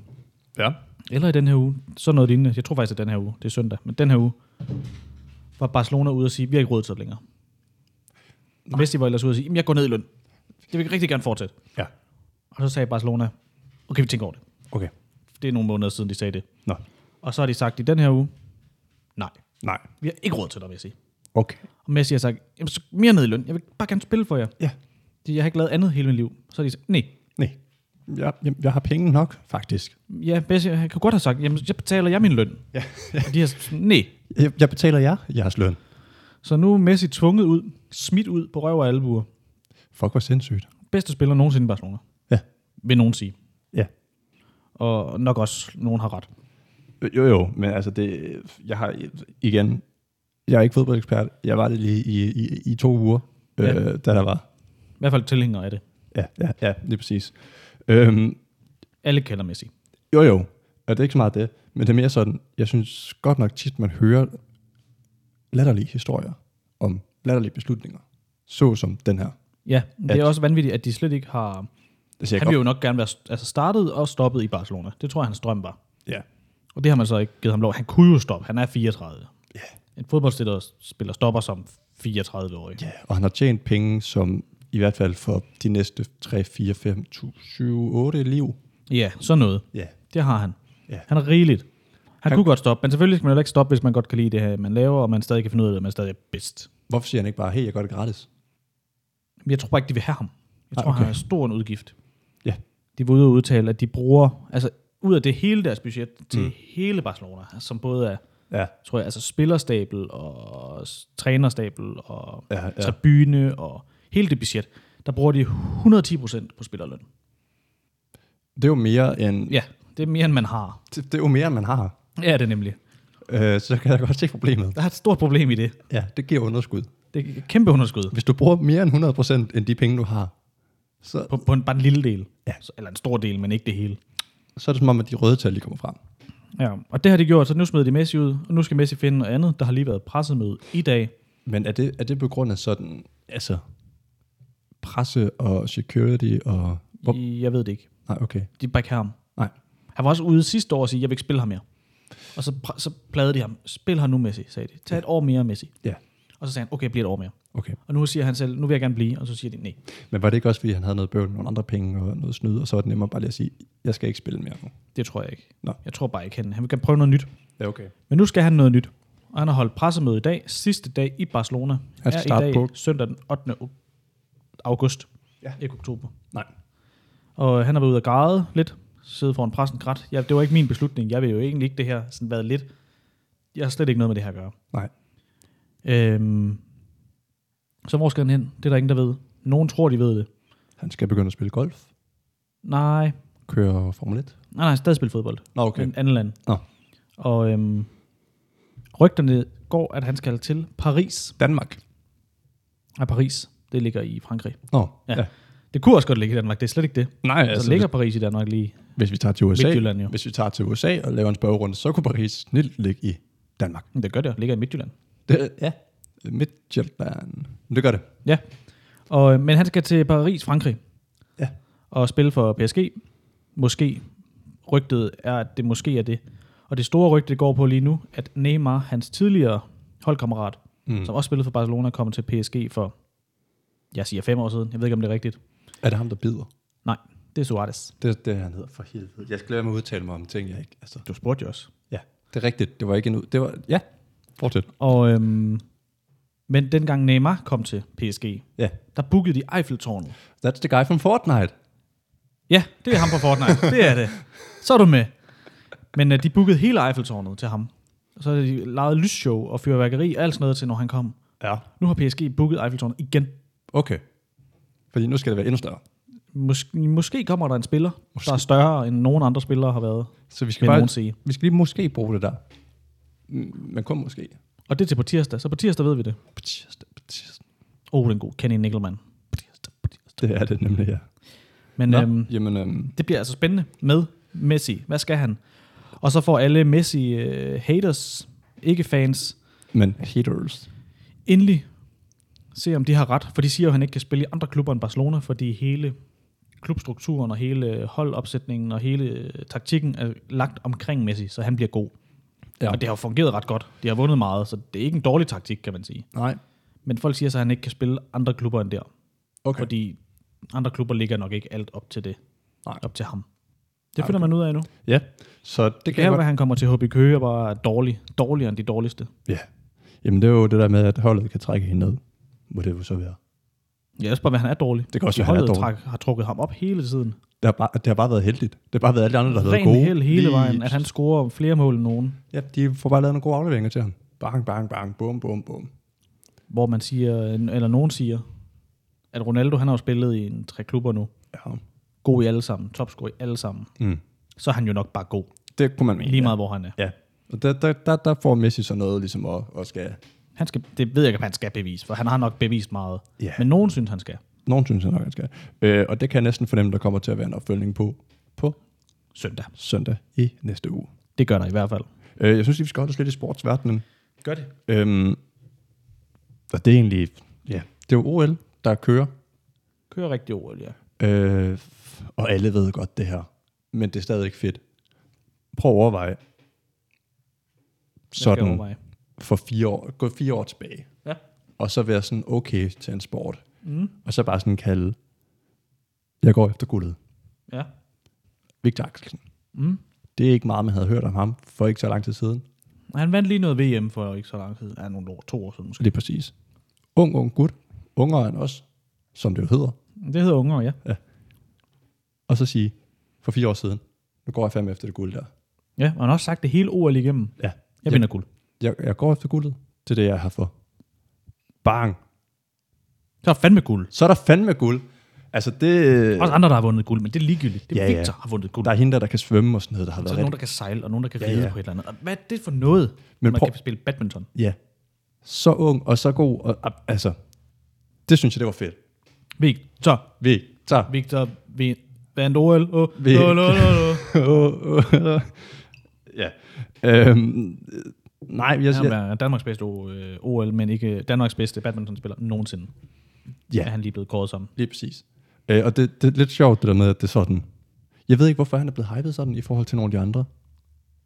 Ja. eller i den her uge, så noget lignende. Jeg tror faktisk, at den her uge, det er søndag, men den her uge, var Barcelona ude og sige, vi har ikke råd til det længere. Nej. Messi var ellers ude og sige, "Jamen, jeg går ned i løn. Jeg vil rigtig gerne fortsætte. Ja. Og så sagde Barcelona, okay, vi tænker over det. Okay. Det er nogle måneder siden, de sagde det. Nå. Og så har de sagt i den her uge, nej, Nej. vi har ikke råd til dig, Messi. Okay. Og Messi har sagt, Jamen, så mere ned i løn. Jeg vil bare gerne spille for jer. Ja. De- Jeg har ikke lavet andet hele mit liv. Så har de sagt, nej. Nej. Jeg, jeg, jeg har penge nok, faktisk. Ja, Messi han kunne godt have sagt, jamen, jeg betaler jeg min løn. Ja. Og de har sagt, nej. Jeg, jeg betaler jer jeres løn. Så nu er Messi tvunget ud, smidt ud på røv og albuer. Fuck, hvor sindssygt. Bedste spiller nogensinde i Barcelona, Ja. vil nogen sige. Ja. Og nok også, nogen har ret. Jo, jo, men altså det, jeg har, igen, jeg er ikke fodboldekspert. Jeg var det lige i, i, i to uger, Ja. øh, da der var. I hvert fald tilhængere af det. Ja, ja, ja, lige præcis. Øhm, Alle kender Messi. jo, jo, og det er ikke så meget det, men det er mere sådan, jeg synes godt nok tit, man hører latterlige historier om latterlige beslutninger, såsom den her. Ja, det At- er også vanvittigt, at de slet ikke har... Det ser jeg Han vil godt. jo nok gerne være st- altså startet og stoppet i Barcelona. Det tror jeg, hans drøm var. Ja, Og det har man så ikke givet ham lov. Han kunne jo stoppe. Han er 34. Ja. En fodboldspiller spiller stopper som 34-årig. Ja, og han har tjent penge, som i hvert fald for de næste 3, 4, 5, 7, 8 liv. ja, sådan noget. Ja. Det har han. Ja. Han er rigeligt. Han, han kunne godt stoppe, men selvfølgelig skal man heller ikke stoppe, hvis man godt kan lide det her, man laver, og man stadig kan finde ud af det, og man stadig er bedst. Hvorfor siger han ikke bare, hey, jeg gør det gratis? Men jeg tror bare ikke, de vil have ham. Jeg Nej, tror, okay. okay. han er stor en udgift. Ja. De var ude og udtale, at de bruger, altså ud af det hele deres budget til mm. hele Barcelona, som både er, Ja. tror jeg, altså spillerstabel og s- trænerstabel og Ja, ja. tribune og hele det budget, der bruger de 110% på spillerløn. Det er jo mere end, Ja, det er mere, end man har. det, det er jo mere, end man har. Ja, det er nemlig. Øh, så kan jeg godt se problemet. Der er et stort problem i det. Ja, det giver underskud. Det er et kæmpe underskud Hvis du bruger mere end 100% end de penge, du har, så, på, på en, bare en lille del. Ja. Så- Eller en stor del, men ikke det hele. så er det som om, at de røde tal de kommer frem. Ja, og det har de gjort, så nu smed de Messi ud, og nu skal Messi finde noget andet. Der har lige været pressemøde i dag. Men er det, er det på grund af sådan, altså, presse og security og... Hvor, I, jeg ved det ikke. nej, okay. De bare ikke have ham. Nej. Han var også ude sidste år og sige, jeg vil ikke spille ham mere. Og så, pr- så plagede de ham. Spil ham nu, Messi, sagde de. Tag et år mere, Messi. Ja, Og så sagde han, okay, jeg bliver et år mere. okay. Og nu siger han selv, nu vil jeg gerne blive. Og så siger de, nej. Men var det ikke også, fordi han havde noget bøvl, nogle andre penge og noget snyd, og så var det nemmere bare lige at sige, jeg skal ikke spille mere nu. Det tror jeg ikke. Nå. Jeg tror bare ikke, han, han vil gerne prøve noget nyt. Ja, okay. Men nu skal han noget nyt. Og han har holdt pressemøde i dag, sidste dag i Barcelona. Han skal er starte i dag, på- søndag den 8. o- august. Ja. Ikke oktober. Nej. Og han har været ude og græde lidt, siddet foran pressen grædt. Ja, det var ikke min beslutning. Jeg vil jo egentlig ikke det her sådan været lidt. Jeg har slet ikke noget med det her at gøre. Nej. Øhm, så hvor skal han hen? Det er der ingen, der ved. Nogen tror, de ved det. Han skal begynde at spille golf, Nej, køre Formel 1. nej, nej, stadig spille fodbold. Nå, okay. Men andet land. Nå. Og øhm, rygterne går, at han skal til Paris. Danmark. Ja, Paris, det ligger i Frankrig. Nå, Ja. Det kunne også godt ligge i Danmark, det er slet ikke det. Nej, Så altså, ligger Paris i Danmark lige. hvis, hvis, vi tager til USA, Midtjylland, jo. hvis vi tager til USA og laver en spørgerunde, så kunne Paris snit ligge i Danmark. Men Det gør det, ligger i Midtjylland. Det, ja. Midtjylland. Men Det gør det. Ja, og, øh, men han skal til Paris, Frankrig, Ja. og spille for PSG. Måske. Rygtet er, at det måske er det. Og det store rygte det går på lige nu, at Neymar, hans tidligere holdkammerat, mm. som også spillede for Barcelona, kommer til PSG for, jeg siger fem år siden. Jeg ved ikke, om det er rigtigt. Er det ham, der bider? Nej, det er Suarez. Det er det, han hedder for helvede. Jeg skal lade mig udtale mig om ting, jeg ikke... Altså, Du spurgte jo også. ja, det er rigtigt. Det var ikke en ud... Det var... Ja, fortsæt. Og, øhm, men dengang Neymar kom til PSG, Ja. der bookede de Eiffeltårnet. That's the guy from Fortnite. Ja, det er ham fra Fortnite. det er det. Så er du med. Men øh, de bookede hele Eiffeltårnet til ham. Og så havde de lejet lysshow og fyrværkeri og alt sådan noget til, når han kom. Ja. Nu har PSG booket Eiffeltårnet igen. Okay. Fordi nu skal det være endnu større. Mås- måske kommer der en spiller, måske. der er større end nogen andre spillere har været. Så vi skal, Vil bare, nogen sige. vi skal lige måske bruge det der. Mm, Men kun måske. Og det er til på tirsdag, så på tirsdag ved vi det. På tirsdag. På Oh, den er god. Kenny Nickelman. Det er det nemlig, ja. Men Nå, øhm, jamen, øhm, det bliver altså spændende med Messi. Hvad skal han? Og så får alle øh, Messi-haters, ikke fans, men haters. endelig se, om de har ret. For de siger jo, at han ikke kan spille i andre klubber end Barcelona, fordi hele klubstrukturen og hele holdopsætningen og hele øh, taktikken er lagt omkring Messi, så han bliver god. Ja. Ja. Og det har jo fungeret ret godt. De har vundet meget, så det er ikke en dårlig taktik, kan man sige. Nej. Men folk siger så, at han ikke kan spille andre klubber end der. Okay. Fordi andre klubber ligger nok ikke alt op til det. Nej. Op til ham. Det Nej, finder man ud af nu. Ja, så det, Det kan kan jeg være, godt. at han kommer til HB Køge og bare er dårlig. Dårligere end de dårligste. Ja. Jamen, det er jo det der med, at holdet kan trække hende ned. Må det jo så være. Jeg også bare, at han er dårlig. Det kan også være, han er Holdet dårlig. trak, har trukket ham op hele tiden. Det har, bare, det har bare været heldigt. Det har bare været alle de andre, der har været Ren gode. held hele Lige- vejen, at han scorer flere mål end nogen. Ja, de får bare lavet nogle gode afleveringer til ham. Bang, bang, bang. Bum, bum, bum. Hvor man siger, eller nogen siger, at Ronaldo han har jo spillet i en tre klubber nu. Ja. God i alle sammen. Topscorer i alle sammen. Mm. Så er han jo nok bare god. Det kunne man mene. Lige meget, hvor han er. Ja. Og der, der, der, der får Messi så noget, ligesom at, at skal... Han skal, det ved jeg ikke, om han skal bevise, for han har nok bevist meget. Ja. Men nogen synes, han skal. Nogen synes jeg nok, han skal. Øh, og det kan jeg næsten fornemme, der kommer til at være en opfølgning på på Søndag. søndag i næste uge. Det gør der i hvert fald. Øh, jeg synes, vi skal holde os lidt i sportsverdenen. Gør det. Øhm, og det er egentlig... Ja, det er jo OL, der kører. Kører rigtig OL, ja. Øh, og alle ved godt det her. Men det er stadig ikke fedt. Prøv at overveje. Hvad skal jeg Sådan overveje? for fire år, gå fire år tilbage. Ja. Og så være sådan okay til en sport. Mm. Og så bare sådan kalde, jeg går efter guldet. Ja. Victor Axelsen. Mm. Det er ikke meget, man havde hørt om ham for ikke så lang tid siden. Han vandt lige noget VM for ikke så lang tid. Ja, nogle år, to år siden måske. Lige præcis. Ung, ung gut. Ungere end os, som det jo hedder. Det hedder Unger, ja. Og så sige, for fire år siden, nu går jeg fandme efter det guld der. Ja, og han har også sagt det hele OL igennem. Ja. Jeg vinder guld. Jeg, jeg går efter guldet. Det er det, jeg har for. Bang. Så er fandme guld. Så er der fandme guld. Altså det... Også andre, der har vundet guld, men det er ligegyldigt. Det er Ja, ja, ja. Victor, der har vundet guld. Der er hende der, der kan svømme og sådan noget, der har så er været der nogen, rigtig... der kan sejle, og nogen, der kan Ja, ride ja. på et eller andet. Og hvad er det for noget, Men men man prøv- kan spille badminton? Ja. Så ung og så god. Og, og- altså, det synes jeg, det var fedt. Victor, Vi tager... Victor, vi vandt OL. Oh, Vi- oh, oh, oh, oh. ja. Øhm, øh, nej, jeg Han siger... er Danmarks bedste øh, OL, men ikke Danmarks bedste badmintonspiller nogensinde. Ja. Er han lige blevet kåret som. Lige præcis. Øh, og det, det er lidt sjovt, det der med, at det er sådan... Jeg ved ikke, hvorfor han er blevet hypet sådan i forhold til nogle af de andre.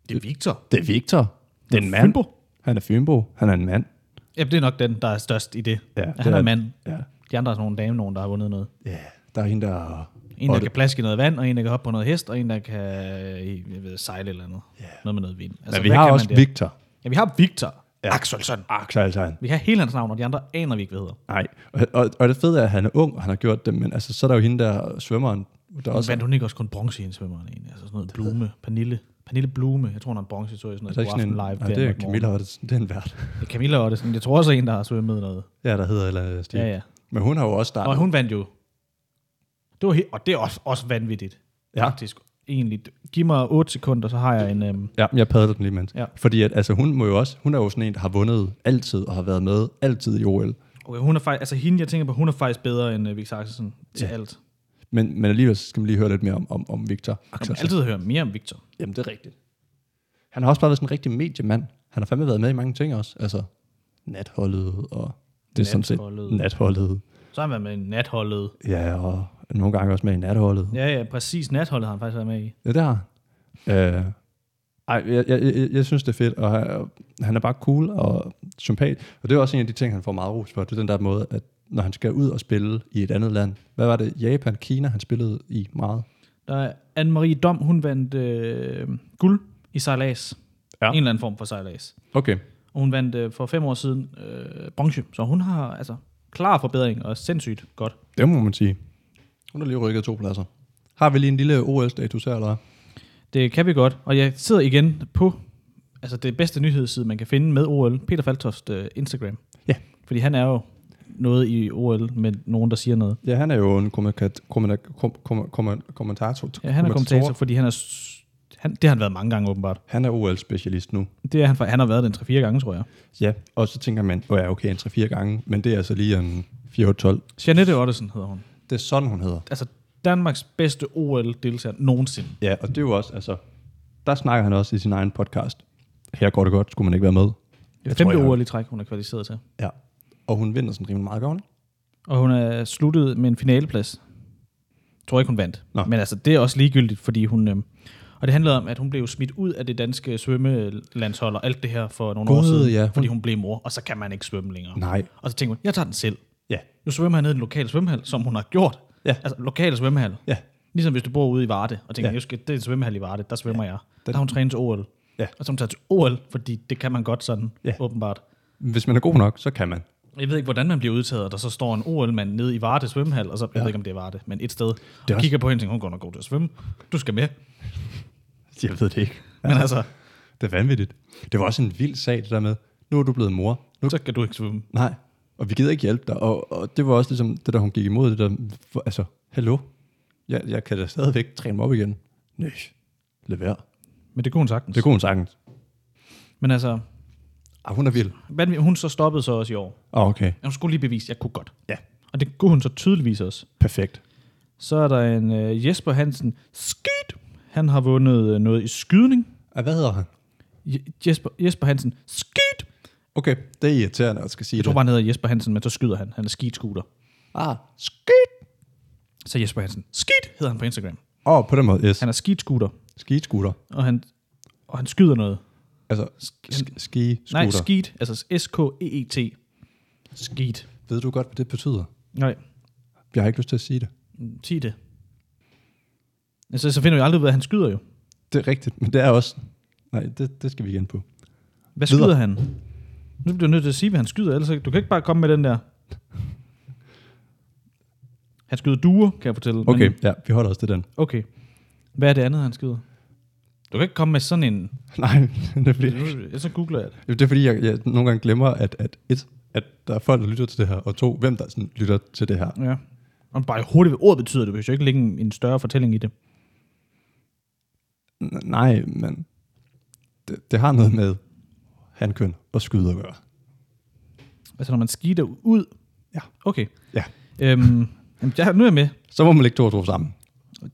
Det er Victor. Det er Victor. Det er en mand. Fynbo. Han er Fynbo. Han er en mand. Ja, det er nok den, der er størst i det. Ja, Ja, det han er- er, mand. Ja. De andre er sådan nogle dame, nogen, der har vundet noget. Ja, der er hende, der... En, der og kan plaske i noget vand, og en, der kan hoppe på noget hest, og en, der kan øh, jeg ved, sejle eller noget. Ja. Noget med noget vind. Altså, Men vi hvad har kan man også der? Victor. Ja, vi har Victor Ja. ja. Axelsson. Axel Altan. Vi har hele hans navn, og de andre aner vi ikke, hvad hedder. Nej, og, og, og det fede er, at han er ung, og han har gjort det, men altså, så er der jo hende der svømmeren, der Og også vandt hun ikke også kun bronze i en svømmeren egentlig? Altså sådan noget Blume, Pernille. Pernille Blume, jeg tror, hun har en bronze, så jeg sådan er der noget ikke god sådan en, nej, aften live. der det er nok morgen. Camilla Ottesen, det er en vært. Ja, Camilla og det, jeg tror også en, der har svømmet noget. Ja, der hedder et eller andet stil. Ja, ja. Men hun har jo også startet. Og hun vandt jo. Det var he- og det er også, også vanvittigt, ja. faktisk. Egentlig, giv mig 8 sekunder, så har jeg en... Øhm, ja, jeg padler den lige mens. Ja. Fordi at, altså, hun, må jo også, hun er jo sådan en, der har vundet altid, og har været med altid i OL. okay, hun er faktisk, altså hende, jeg tænker på, hun er faktisk bedre end øh, Victor Axelsen til Ja. ja. alt. Men, men alligevel så skal man lige høre lidt mere om, om, om Victor. Man Axelsen. kan altid høre mere om Victor. Jamen, det er rigtigt. Han har også bare været sådan en rigtig mediemand. Han har fandme været med i mange ting også. Altså, natholdet og... Det er sådan set Natholdet. natholdet. Så har han været med i natholdet. Ja, og nogle gange også med i natholdet. Ja, Ja, ja, præcis. Natholdet har han faktisk været med i. ja det har han. øh, Ej, jeg, jeg, jeg, jeg synes, det er fedt, og han- han er bare cool og sympatisk. Og det er også en af de ting, han får meget ros for. Det er den der måde, at når han skal ud og spille i et andet land. Hvad var det? Japan, Kina, han spillede i meget. Der er Anne-Marie Dom, hun vandt øh, guld i sejlads. Ja. Ja. En eller anden form for sejlads. Okay. Og hun vandt øh, for fem år siden øh, bronze. Så hun har altså klar forbedring og sindssygt godt. Det må man sige. Hun har lige rykket to pladser. Har vi lige en lille OL-status her, eller hvad? Det kan vi godt. Og jeg sidder igen på altså det bedste nyhedsside, man kan finde med OL. Peter Faltoft øh, Instagram. Ja. Fordi han er jo noget i OL med nogen, der siger noget. Ja, han er jo en kommentat- kommentat- kom- kom- kom- kommentator. Ja, han er kommentator, fordi han er, s- Han, det har han været mange gange åbenbart. Han er OL-specialist nu. Det er han, for han har været den 3-4 gange, tror jeg. Ja, og så tænker man, åh oh ja, okay, en 3-4 gange, men det er altså lige en 4-12. Janette Ottesen hedder hun. Det er sådan, hun hedder. Altså Danmarks bedste OL-deltager nogensinde. Ja, og det er jo også, altså, der snakker han også i sin egen podcast. Her går det godt, skulle man ikke være med. Det Jeg femte tror, jeg- OL i træk, hun er kvalificeret til. Ja, og hun vinder sådan rimelig meget gavn. Og hun er sluttet med en finaleplads. Jeg tror ikke, hun vandt. Nå. Men altså, det er også ligegyldigt, fordi hun... Øhm, og det handlede om, at hun blev smidt ud af det danske svømmelandshold og alt det her for nogle år Gud, siden, ja. fordi hun blev mor, og så kan man ikke svømme længere. Nej. Og så tænkte hun, jeg tager den selv. Ja. Nu svømmer jeg ned i den lokale svømmehal, som hun har gjort. Ja. Altså, lokale svømmehal. Ja. Ligesom hvis du bor ude i Varde, og tænker, Ja. ja. skal, det er en svømmehal i Varde, der svømmer ja. jeg. Der Den- har hun trænet til OL. Ja. Og så har hun tager til OL, fordi det kan man godt sådan, Ja. ja. åbenbart. Hvis man er god nok, så kan man. Jeg ved ikke, hvordan man bliver udtaget, og der så står en OL-mand nede i Varde svømmehal, og så, jeg ved ikke, om det er Varde, men et sted, og også- kigger på hende og tænker, hun går nok god til at svømme. Du skal med. Jeg ved det ikke. Men altså, Det er vanvittigt. Det var også en vild sag, det der med, nu er du blevet mor. Nu, så kan du ikke svømme. nej, og vi gider ikke hjælpe dig. Og, og det var også ligesom det, der hun gik imod, det der, for, altså, hallo, jeg, jeg kan da stadigvæk træne mig op igen. Nej, lad være. Men det kunne hun sagtens. Det kunne hun sagtens. Men altså, Ah, hun er vild. hvad- hun så stoppede så også i år. Ah, okay. Hun skulle lige bevise, at jeg kunne godt. Ja, Og det kunne hun så tydeligvis også. perfekt. Så er der en øh, Jesper Hansen. Skid! Han har vundet øh, noget i skydning. Ah, hvad hedder han? Je- Jesper, Jesper Hansen. Skid! Okay, det er irriterende at skal sige Jeg tror det. bare, han hedder Jesper Hansen, men så skyder han. Han er skidskuter. Ah, skidt. Så Jesper Hansen. Skid hedder han på Instagram. Åh, oh, på den måde, yes. Han er skidskuter, Skidskutter. og han, og han skyder noget. Altså, sk- ski-scooter. Nej, skid. Altså S-K-E-E-T. Skid. Ved du godt, hvad det betyder? Nej, Jeg har ikke lyst til at sige det. sig det. Altså, så finder vi aldrig ud af, at han skyder jo. Det er rigtigt, men det er også... Nej, det, det skal vi igen på. Hvad Videre. skyder han? Nu bliver du nødt til at sige, hvad han skyder, ellers du kan ikke bare komme med den der. Han skyder duer, kan jeg fortælle. Okay, Men, ja, vi holder os til den. okay. Hvad er det andet, han skyder? Du kan ikke komme med sådan en... Nej, det er fordi, Nu- Så googler jeg det. det er fordi jeg, jeg nogle gange glemmer, at, at et, at der er folk, der lytter til det her, og to, hvem der sådan lytter til det her. Ja. Og bare hurtigt, hvad ordet betyder det, hvis jeg ikke lægge en, en større fortælling i det. N- nej, men det, det har noget med handkøn og skyde at gøre. Altså, når man skider ud. Ja. Okay. Ja. Øhm, jamen, jeg, nu er jeg med. Så må man lægge to og to sammen.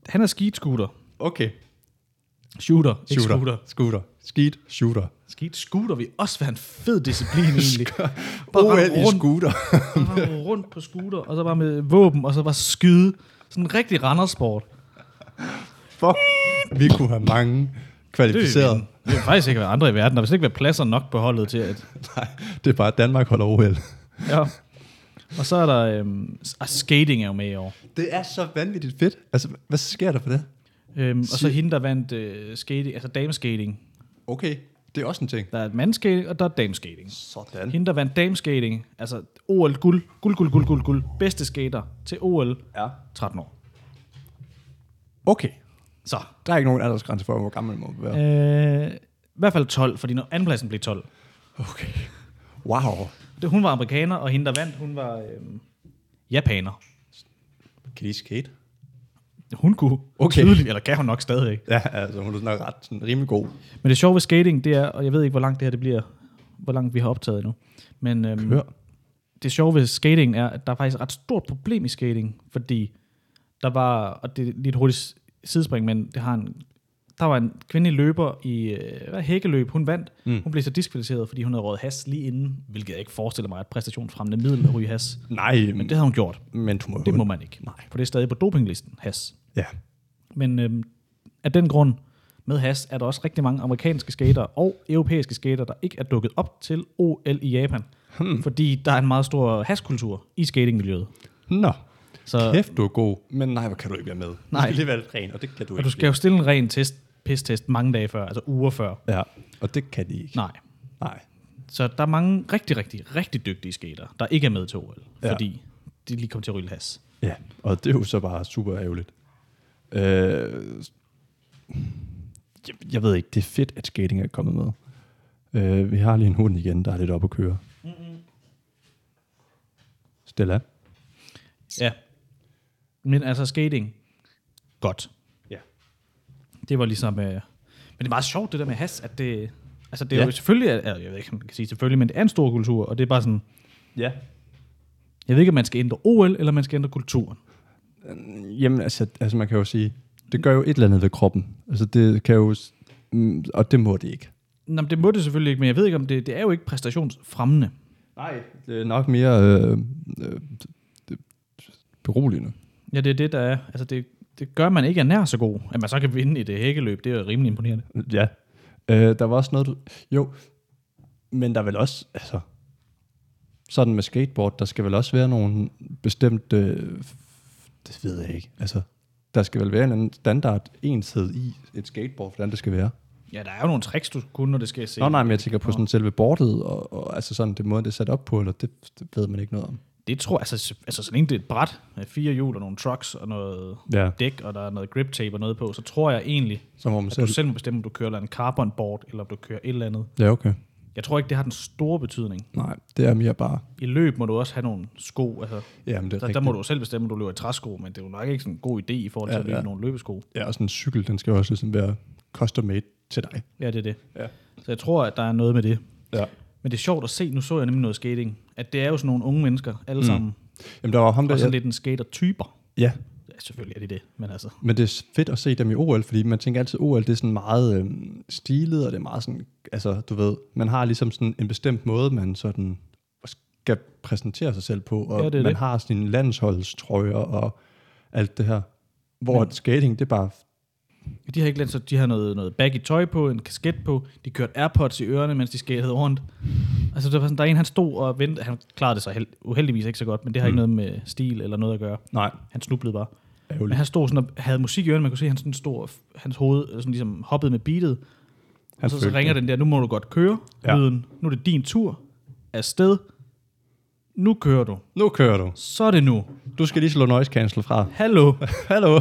Han er skidskuter. Okay. Shooter. Shooter. Ikke Shooter. scooter. Scooter. Skeet. Shooter. Skid scooter vil også være en fed disciplin egentlig. Bare OL rende i rundt, scooter. bare rende rundt på scooter, og så bare med våben, og så bare skyde. Sådan en rigtig randersport. Fuck. Vi kunne have mange kvalificerede. Det vil faktisk ikke være andre i verden. Der vil slet ikke være pladser nok på holdet til at... Nej, det er bare, at Danmark holder OL. Ja. Og så er der... Øhm, ah, skating er jo med i år. Det er så vanvittigt fedt. Altså, hvad sker der for det? Øhm, og så hende, der vandt øh, skating, altså dameskating. Okay, det er også en ting. Der er mandskating, og der er dameskating. Sådan. Hende, der vandt dameskating, altså OL guld, guld, guld, guld, guld, guld, bedste skater til OL, Ja. 13 år. Okay, Så. der er ikke nogen aldersgrænse for, hvor gammel man må være. Øh, I hvert fald 12, fordi når andenpladsen blev 12. Okay. Wow. Det, hun var amerikaner, og hende, der vandt, hun var øh, japaner. Kan de skate? Hun kunne Okay. okay. tydeligt, eller kan hun nok stadigvæk. Ja, altså hun er sådan ret sådan, rimelig god. Men det sjove ved skating, det er, og jeg ved ikke, hvor langt det her det bliver, hvor langt vi har optaget endnu. Men øhm, Hør. det sjove ved skating er, at der er faktisk et ret stort problem i skating, fordi der var, og det er lige et hurtigt sidespring, men det har en, der var en kvindelig løber i øh, hvad, hækkeløb, hun vandt. Mm. Hun blev så diskvalificeret, fordi hun havde røget has lige inden, hvilket jeg ikke forestiller mig er et præstationsfremmende middel at ryge has. Nej, men, Det havde hun gjort. men du må Det må man ikke. Nej. For det er stadig på dopinglisten, has. Ja. Men øhm, af den grund med has er der også rigtig mange amerikanske skater og europæiske skater, der ikke er dukket op til OL i Japan. Hmm. Fordi der er en meget stor haskultur i skatingmiljøet. Nå, Så kæft du er god. Men nej, hvor kan du ikke være med? Nej. Du skal lige være lidt ren, og det kan du og ikke. du skal jo stille en ren test, pistest mange dage før, altså uger før. Ja, og det kan de ikke. Nej. Nej. Så der er mange rigtig, rigtig, rigtig dygtige skater, der ikke er med til OL, Ja. fordi de lige kom til at ryge has. Ja, og det er jo så bare super ærgerligt. Øh, jeg, jeg ved ikke, det er fedt, at skating er kommet med. Øh, vi har lige en hund igen, der er lidt op at køre. Mm-hmm. Stella? Ja. Men altså skating, godt. Ja. Det var ligesom øh, Men det er meget sjovt, det der med has, at det... Altså, det er Ja. ja. jo selvfølgelig... er- Jeg ved ikke, om man kan sige selvfølgelig, men det er en stor kultur, og det er bare sådan... Ja. Jeg ved ikke, om man skal ændre OL, eller man skal ændre kulturen. Jamen, altså, altså man kan jo sige, det gør jo et eller andet ved kroppen. Altså det kan jo, s- mm, og det må det ikke. Nå, men det må det selvfølgelig ikke, men jeg ved ikke, om det... Det er jo ikke præstationsfremmende. Nej. Det er nok mere øh, øh, beroligende. Ja, det er det, der er... Altså, det, det gør man ikke er nær så god. At man så kan vinde i det hækkeløb, det er jo rimelig imponerende. Ja. Øh, der var også noget, du, jo, men der er vel også, altså, sådan med skateboard, der skal vel også være nogle bestemte, øh, det ved jeg ikke, altså, der skal vel være en anden standard enshed i et skateboard, hvordan det skal være. Ja, der er jo nogle tricks, du skal kunne, når det skal se. Nå nej, men jeg tænker på sådan selve bordet, og, og altså sådan det måde, det er sat op på, eller det, det ved man ikke noget om. Det tror jeg, altså, altså så længe det er et bræt med fire hjul og nogle trucks og noget Ja. dæk, og der er noget grip tape og noget på, så tror jeg egentlig, Så må man at du selv... selv må bestemme, om du kører en carbon board, eller om du kører et eller andet. Ja, okay. Jeg tror ikke, det har den store betydning. Nej, det er mere bare... I løb må du også have nogle sko. Altså, Jamen, det er der, rigtigt. der, må du jo selv bestemme, om du løber i træsko, men det er jo nok ikke sådan en god idé i forhold til Ja, ja, at løbe ja. ja. nogle løbesko. Ja, og sådan en cykel, den skal jo også ligesom være custom made til dig. Ja, det er det. Ja. Så jeg tror, at der er noget med det. Ja. Men det er sjovt at se, nu så jeg nemlig noget skating, at det er jo sådan nogle unge mennesker, alle mm. sammen, Jamen, der var ham der... og sådan Jeg, lidt en skater-typer. ja, Ja, selvfølgelig er det det, men altså, men det er fedt at se dem i OL, fordi man tænker altid, OL det er sådan meget øh, stilet, og det er meget sådan... Altså, du ved, man har ligesom sådan en bestemt måde, man sådan skal præsentere sig selv på, og Ja, det er man det. har sine landsholdstrøjer og alt det her. Hvor Men- skating, det er bare de har ikke lært, så de har noget, noget baggy tøj på, en kasket på, de kørte Airpods i ørerne, mens de skatede rundt. Altså, der, var sådan, der er en, han stod og ventede, han klarede det sig held, uheldigvis ikke så godt, men det Mm. har ikke noget med stil eller noget at gøre. Nej, Han snublede bare. Men ærgerligt. han stod sådan og havde musik i ørerne, man kunne se, han sådan stod, og f- hans hoved øh, sådan ligesom hoppede med beatet. Han Han så, så følte ringer den der, nu må du godt køre, Ja. ja. lyden, nu er det din tur, afsted, nu kører du, Nu kører du. så er det nu, Du skal lige slå noise cancel fra. hallo. Hallo.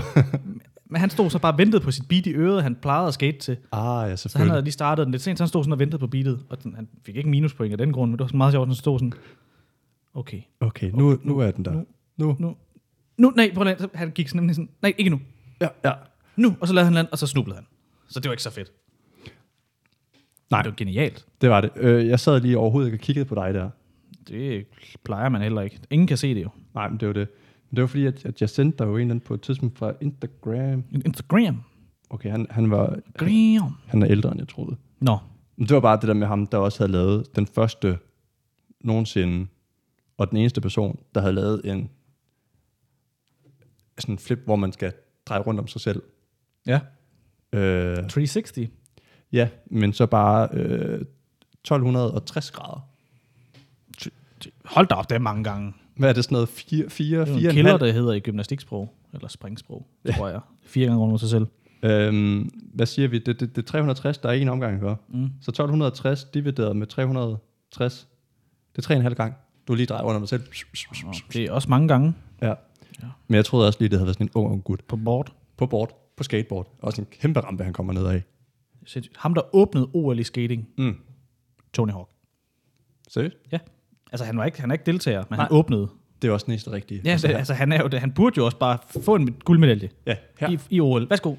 Men han stod så bare og ventede på sit beat i øret, han plejede at skate til. ah, ja, Så han selvfølgelig. havde lige startet den lidt sent, så han stod sådan og ventede på beatet, og den, han fik ikke minuspoint af den grund, men det var sådan meget sjovt, at han stod sådan, okay, Okay, nu, nu er den der. Nu. nu. nu, nu, nej, prøv lige, at- så han gik sådan nemlig sådan, nej, ikke nu, Ja, ja. nu, og så lavede han land, og så snublede han. Så det var ikke så fedt. Nej. Det var genialt. Det var det. Øh, jeg sad lige overhovedet ikke og kiggede på dig der. Det plejer man heller ikke. Ingen kan se det jo. Nej, men det var det. Men det var fordi, at, at jeg sendte dig jo en eller anden på et tidspunkt fra Instagram. Instagram. Okay, han, han, var, Gram. han er ældre, end jeg troede. Nå, Men det var bare det der med ham, der også havde lavet den første nogensinde, og den eneste person, der havde lavet en sådan en flip, hvor man skal dreje rundt om sig selv. ja. Øh, 360. Ja, men så bare øh, 1260 grader. Hold da op, det er mange gange. Hvad er det sådan noget? 4, 4, Det er jo 4 en kilder, der hedder i gymnastiksprog, eller springsprog, tror jeg. Fire gange rundt om sig selv. øhm, Hvad siger vi? Det, det, det er 360, der er en omgang, gør. Mm. Så 1260 divideret med 360, det er 3,5 gang. Du lige drejer rundt om dig selv. Nå, Det er også mange gange Ja. Men jeg troede også lige, det havde været sådan en ung, ung gut på board. på board, på skateboard. Og sådan en kæmpe rampe, han kommer ned af. Sindssygt. Ham, der åbnede OL i skating, Mm. Tony Hawk. Seriøst? Ja. Altså, han, var ikke, han er ikke deltager, men Nej. han Nej. åbnede. Det er også den næste rigtige. Ja, altså, her- altså han, er jo, det- han burde jo også bare få en guldmedalje ja, her. i, i OL. Værsgo.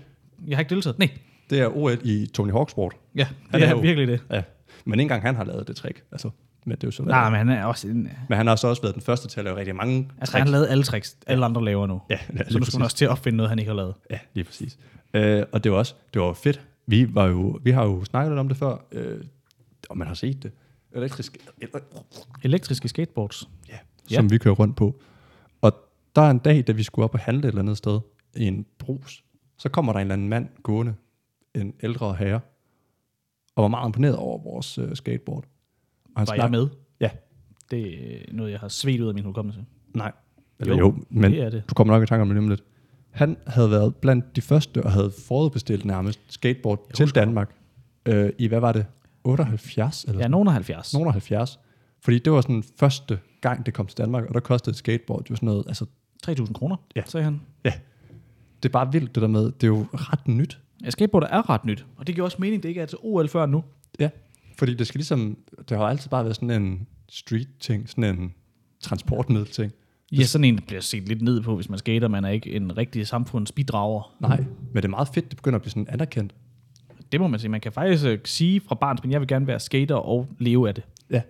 Jeg har ikke deltaget. Nej. Det er OL i Tony Hawk's sport. Ja, Han det er er, jo- virkelig det. Ja. Men ikke engang han har lavet det trick. Altså, men det er jo sådan, Nej, men han er også en... Men han har så også været den første til at lave rigtig mange Altså, han tricks. har lavet alle tricks, alle andre laver nu. Ja, ja, lige så nu skal præcis. man også til at opfinde noget, han ikke har lavet. Ja, lige præcis. Øh, og det var også det var jo fedt. Vi, var jo, vi har jo snakket lidt om det før, øh, og man har set det. Elektrisk, eller, Elektriske skateboards. ja, Ja. som vi kører rundt på. Og der er en dag, da vi skulle op og handle et eller andet sted, i en brus, så kommer der en eller anden mand gående, en ældre herre, og var meget imponeret over vores øh, skateboard. Og han Var jeg snak- med? Ja, Det er noget, jeg har svedt ud af min hukommelse. Nej. Eller jo, Jo, jo men det er det. det. du kommer nok i tanke om det lige om lidt. Han havde været blandt de første, og havde forudbestilt nærmest skateboard jeg til Danmark. Øh, I, hvad var det? 78 eller Jeg er nogen af 70. nogen af 70. Fordi det var sådan første gang, det kom til Danmark, og der kostede et skateboard jo sådan noget. Altså, 3.000 kroner, Ja. ja. sagde han. ja. Det er bare vildt det der med, det er jo ret nyt. Ja, skateboarder er ret nyt, og det giver også mening, det ikke er til OL før nu. Ja. Fordi det skal ligesom, det har jo altid bare været sådan en street ting, sådan en transportmiddel ting. Ja, sådan en bliver set lidt ned på, hvis man skater. Man er ikke en rigtig samfundsbidrager. Nej, men det er meget fedt, det begynder at blive sådan anerkendt. det må man sige. Man kan faktisk øh, sige fra barns, men jeg vil gerne være skater og leve af det. Ja,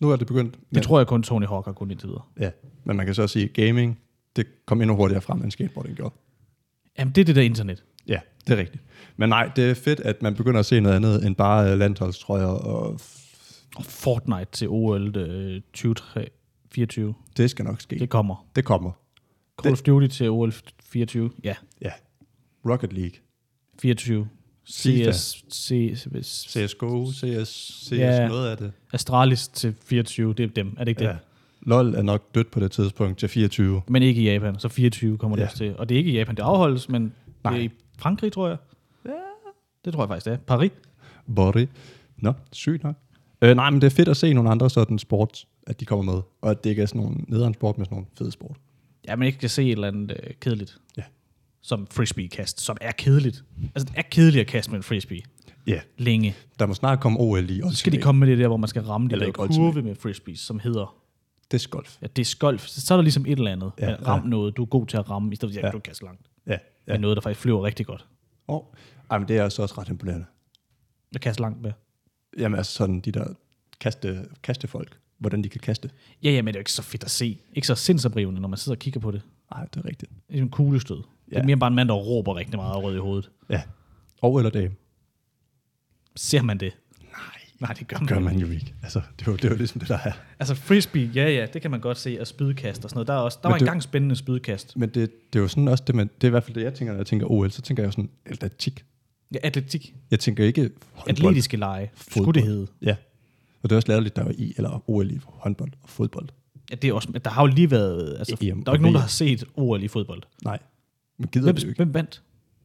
nu er det begyndt. Det ja. tror jeg kun Tony Hawk har kunnet indtil videre. Ja, men man kan så sige, gaming, det kom endnu hurtigere frem, end skateboarding gjorde. Jamen, det er det der internet. Ja, det er rigtigt. Men nej, det er fedt, at man begynder at se noget andet, end bare øh, landsholdstrøjer. Og Og Fortnite til OL øh, 2024. det skal nok ske. Det kommer. Det kommer. Call of Duty til OL 24. Ja, Ja. Rocket League. 24. FIFA. CS, CS, CSGO, CS, CS Ja. noget af det. Astralis til 24, det er dem, er det ikke det? Ja. Ja. LOL er nok dødt på det tidspunkt til 24. Men ikke i Japan, så 24 kommer det Ja. også til. Og det er ikke i Japan, det afholdes, men Nej. Nej. det er i Frankrig, tror jeg. Ja. Det tror jeg faktisk, det er. Paris. Body. Nå, sygt nok. Øh, nej, men det er fedt at se nogle andre sådan sports, at de kommer med. Og at det ikke er sådan nogle nederen sport, men sådan nogle fede sport. Ja, man ikke kan se et eller andet øh, kedeligt. Ja. Som frisbee-kast, som er kedeligt. Altså, det er kedeligt at kaste med en frisbee. Ja, yeah. Længe. der må snart komme OL i. Så skal de komme med det der, hvor man skal ramme de Eller der ikke ultimate. kurve med frisbees, som hedder, Det er golf. ja, det er skolf. Så, så er der ligesom et eller andet. Ja, Ja, ram ja. noget, du er god til at ramme, i stedet for at ja. Ja. du kaster langt. Ja. Ja. Med noget, der faktisk flyver rigtig godt. Og, ej, men det er også, også ret imponerende. Jeg kaster langt med. Jamen altså sådan de der kaste, kastefolk, hvordan de kan kaste. Ja, ja, men det er jo ikke så fedt at se. Ikke så sindsoprivende, når man sidder og kigger på det. Nej, det er rigtigt. Det er en kuglestød. Ja. Det er Ja. mere bare en mand, der råber rigtig meget og er rød i hovedet. Ja. Og eller dame. Ser man det? Nej, Nej, det gør det man, gør ikke. man jo ikke. Altså, det var, det var ligesom det, der er. Altså frisbee, ja, ja, det kan man godt se. Og spydkast og sådan noget. Der, er også, der Men var det- engang spændende spydkast. Men det, det er jo sådan også det, man, det er i hvert fald det, jeg tænker, når jeg tænker OL, så tænker jeg jo sådan atletik. Ja, atletik. Jeg tænker ikke håndbold. Atletiske lege. Skulle Fodbold. det hedde. Ja. Og det er også lavet lidt, der var i, eller OL i håndbold og fodbold. Ja, det er også, men der har jo lige været... Altså, EM der er jo ikke nogen, der og har set OL i fodbold. Nej. Man gider Hvem, det jo ikke. hvem vandt?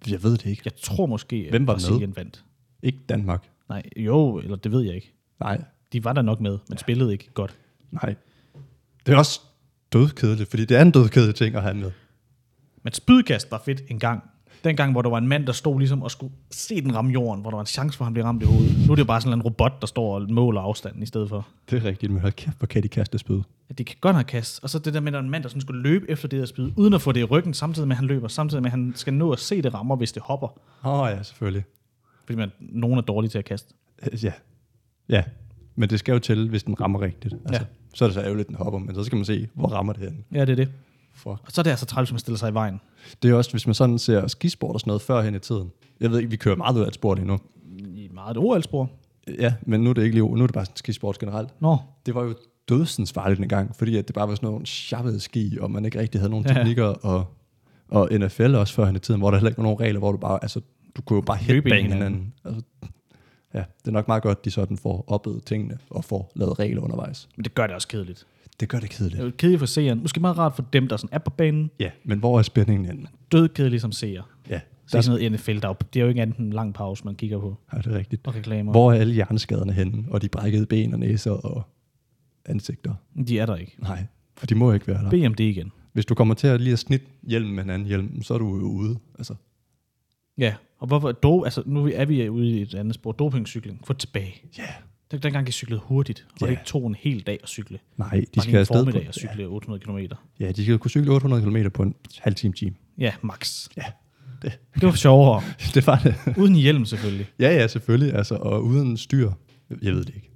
Jeg ved det ikke. Jeg tror måske, at Hvem var med? Brasilien med? vandt. Ikke Danmark. Nej, jo, eller det ved jeg ikke. Nej. De var der nok med, men ja. spillede ikke godt. Nej. Det er også dødkedeligt, fordi det er en dødkedelig ting at have med. Men spydkast var fedt en gang. Den gang, hvor der var en mand, der stod ligesom og skulle se den ramme jorden, hvor der var en chance for, at han blev ramt i hovedet. Nu er det jo bare sådan en robot, der står og måler afstanden i stedet for. Det er rigtigt, men hold kæft, hvor kan de kaste spyd. At de kan godt have kast. Og så det der med, at der er en mand, der sådan skulle løbe efter det der spyd, uden at få det i ryggen, samtidig med, at han løber, samtidig med, at han skal nå at se det rammer, hvis det hopper. Åh oh, ja, selvfølgelig. Fordi man, nogen er dårlige til at kaste. Øh, Ja. Ja. Men det skal jo til, hvis den rammer rigtigt. Altså, ja. Så er det så ærgerligt, den hopper, men så skal man se, hvor rammer det henne. Ja, det er det. Fuck. Og så er det altså træls, hvis man stiller sig i vejen. Det er også, hvis man sådan ser skisport og sådan noget førhen i tiden. Jeg ved ikke, vi kører meget ud af et sport endnu. I meget et OL-spor. Ja, men nu er det ikke lige, nu er det bare sådan skisport generelt. Nå, Det var jo dødsens farligt en gang, fordi at det bare var sådan nogle sjappede ski, og man ikke rigtig havde nogen Ja. teknikker, og, og NFL også førhen i tiden, hvor der heller ikke var nogen regler, hvor du bare, altså, du kunne jo bare Løbe ind i headbang hinanden. Altså, ja, det er nok meget godt, de sådan får opbedet tingene, og får lavet regler undervejs. men det gør det også kedeligt. Det gør det Det er kedeligt. jo kedeligt for seeren. Måske meget rart for dem, der sådan er på banen. Ja, men hvor er spændingen henne? Død kedeligt som seer. Ja, Så der, er sådan noget NFL, der er jo- det er jo ikke andet end en lang pause, man kigger på. ja, det er rigtigt. Og reklamer. Hvor? Hvor er alle hjerneskaderne henne, og de brækkede ben og næser og ansigter? De er der ikke. Nej, for de må ikke være der. BMD igen. Hvis du kommer til at lige at snitte hjelmen med en anden hjelm, så er du jo ude. Altså, Ja, og hvorfor do, altså, nu er vi ude i et andet spor. Dopingcykling, få det tilbage. ja. Yeah. Den, dengang de cyklede hurtigt, og Ja. det ikke tog en hel dag at cykle. Nej, de Bare skal lige en afsted på... formiddag at cykle 800 km. Ja, de skal kunne cykle 800 km på en halv time time. Ja, max. Ja, det, Det var sjovere. det var det. Uden hjelm selvfølgelig. ja, ja, selvfølgelig. Altså, og uden styr. Jeg ved det ikke.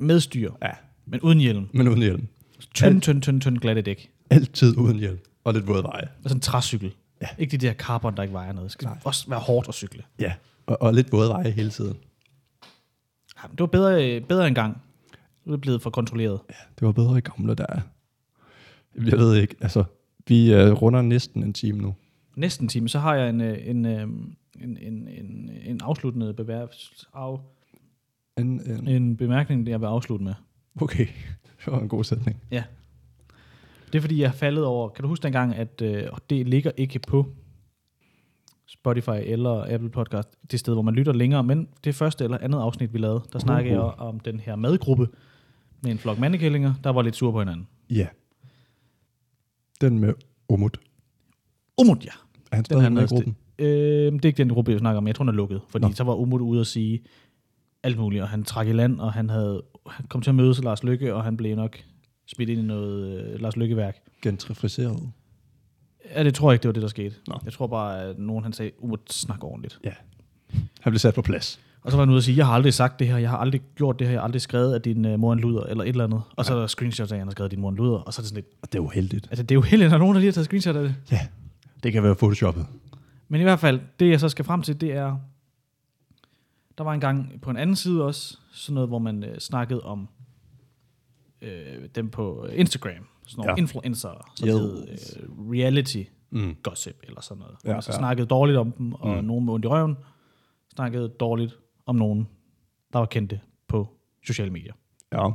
Med styr, Ja, men uden hjelm. men uden hjelm. Tynd, tynd, tynd, tynd, glatte dæk. Altid uden hjelm. Og lidt våde veje. Og sådan en træcykel. Ja. Ikke de der carbon, der ikke vejer noget. Det skal Nej. også være hårdt at cykle. Ja. Og, og lidt våde veje hele tiden. Ja, men det var bedre, øh, bedre engang. Nu er det blevet for kontrolleret. Ja, det var bedre i gamle dage. Jeg ved ikke, altså, vi øh, runder næsten en time nu. Næsten time, så har jeg en, øh, en, øh, en, en, en, en afsluttende bevær- af, En, en, en bemærkning, jeg vil afslutte med. okay, det var en god sætning. Ja. Det er fordi, jeg er faldet over... Kan du huske dengang, at øh, det ligger ikke på Spotify eller Apple Podcast, det sted, hvor man lytter længere, men det første eller andet afsnit, vi lavede, der snakkede jeg om den her madgruppe med en flok mandekællinger, der var lidt sur på hinanden. Ja. Den med Umut. Umut, ja. Er han Den stadig her med i med gruppen? Øh, det er ikke den gruppe, jeg snakker om. Jeg tror, den er lukket. Fordi Nå. Nå. så var Umut ude og sige alt muligt, og han trak i land, og han, havde, han kom til at mødes Lars Lykke, og han blev nok smidt ind i noget øh, Lars Lykke-værk. Gentrificeret. Ja, det tror jeg ikke, det var det, der skete. Nå. Nå. Jeg tror bare, at nogen han sagde, Umut, snak ordentligt. Ja. Han blev sat på plads. Og så var han ude og sige, jeg har aldrig sagt det her, jeg har aldrig gjort det her, jeg har aldrig skrevet, at din uh, mor er en luder, eller et eller andet. Og så er der screenshots af, at han har skrevet, at din mor er en luder. Og så er det sådan lidt, Og det var heldigt. altså det er jo heldigt, at der er nogen, der lige har taget screenshot af det. Ja, det kan være photoshoppet. Men i hvert fald, det jeg så skal frem til, det er, der var en gang på en anden side også, sådan noget, hvor man øh, snakkede om øh, dem på Instagram, sådan nogle Ja. ja. influencer, sådan noget Yes. øh, reality Mm. gossip eller sådan noget. Ja, Ja, og så ja. ja. snakkede dårligt om dem, og mm. nogen med ondt i røven snakkede dårligt om nogen, der var kendte på sociale medier. Ja.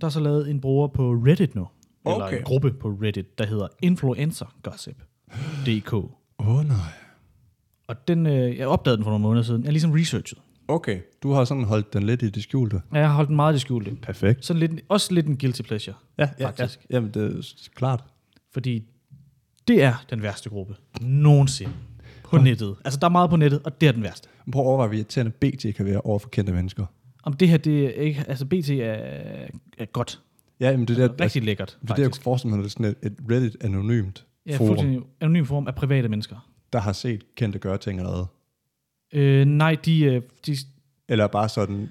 Der er så lavet en bruger på Reddit nu, eller Okay. en gruppe på Reddit, der hedder Influencer Gossip DK. Åh oh, nej. Og den, øh, jeg opdagede den for nogle måneder siden. Jeg har ligesom researchet. Okay, du har sådan holdt den lidt i det skjulte. Ja, jeg har holdt den meget i det skjulte. Perfekt. Sådan lidt, også lidt en guilty pleasure, Ja, ja, ja. faktisk. Jamen, det er s- klart. Fordi det er den værste gruppe nogensinde på nettet. Altså, der er meget på nettet, og det er den værste. Men Prøv at overveje, hvor irriterende BT kan være over for kendte mennesker. Om det her, det er ikke... Altså, BT er, er godt. Ja, jamen, det er der, Rigtig lækkert, det er der, jeg faktisk. kunne forestille mig, at det er sådan et, et Reddit-anonymt Ja, forum, fuldstændig anonym form af private mennesker. der har set kendte gøre ting allerede. Øh, nej, de, øh, de, Eller bare sådan,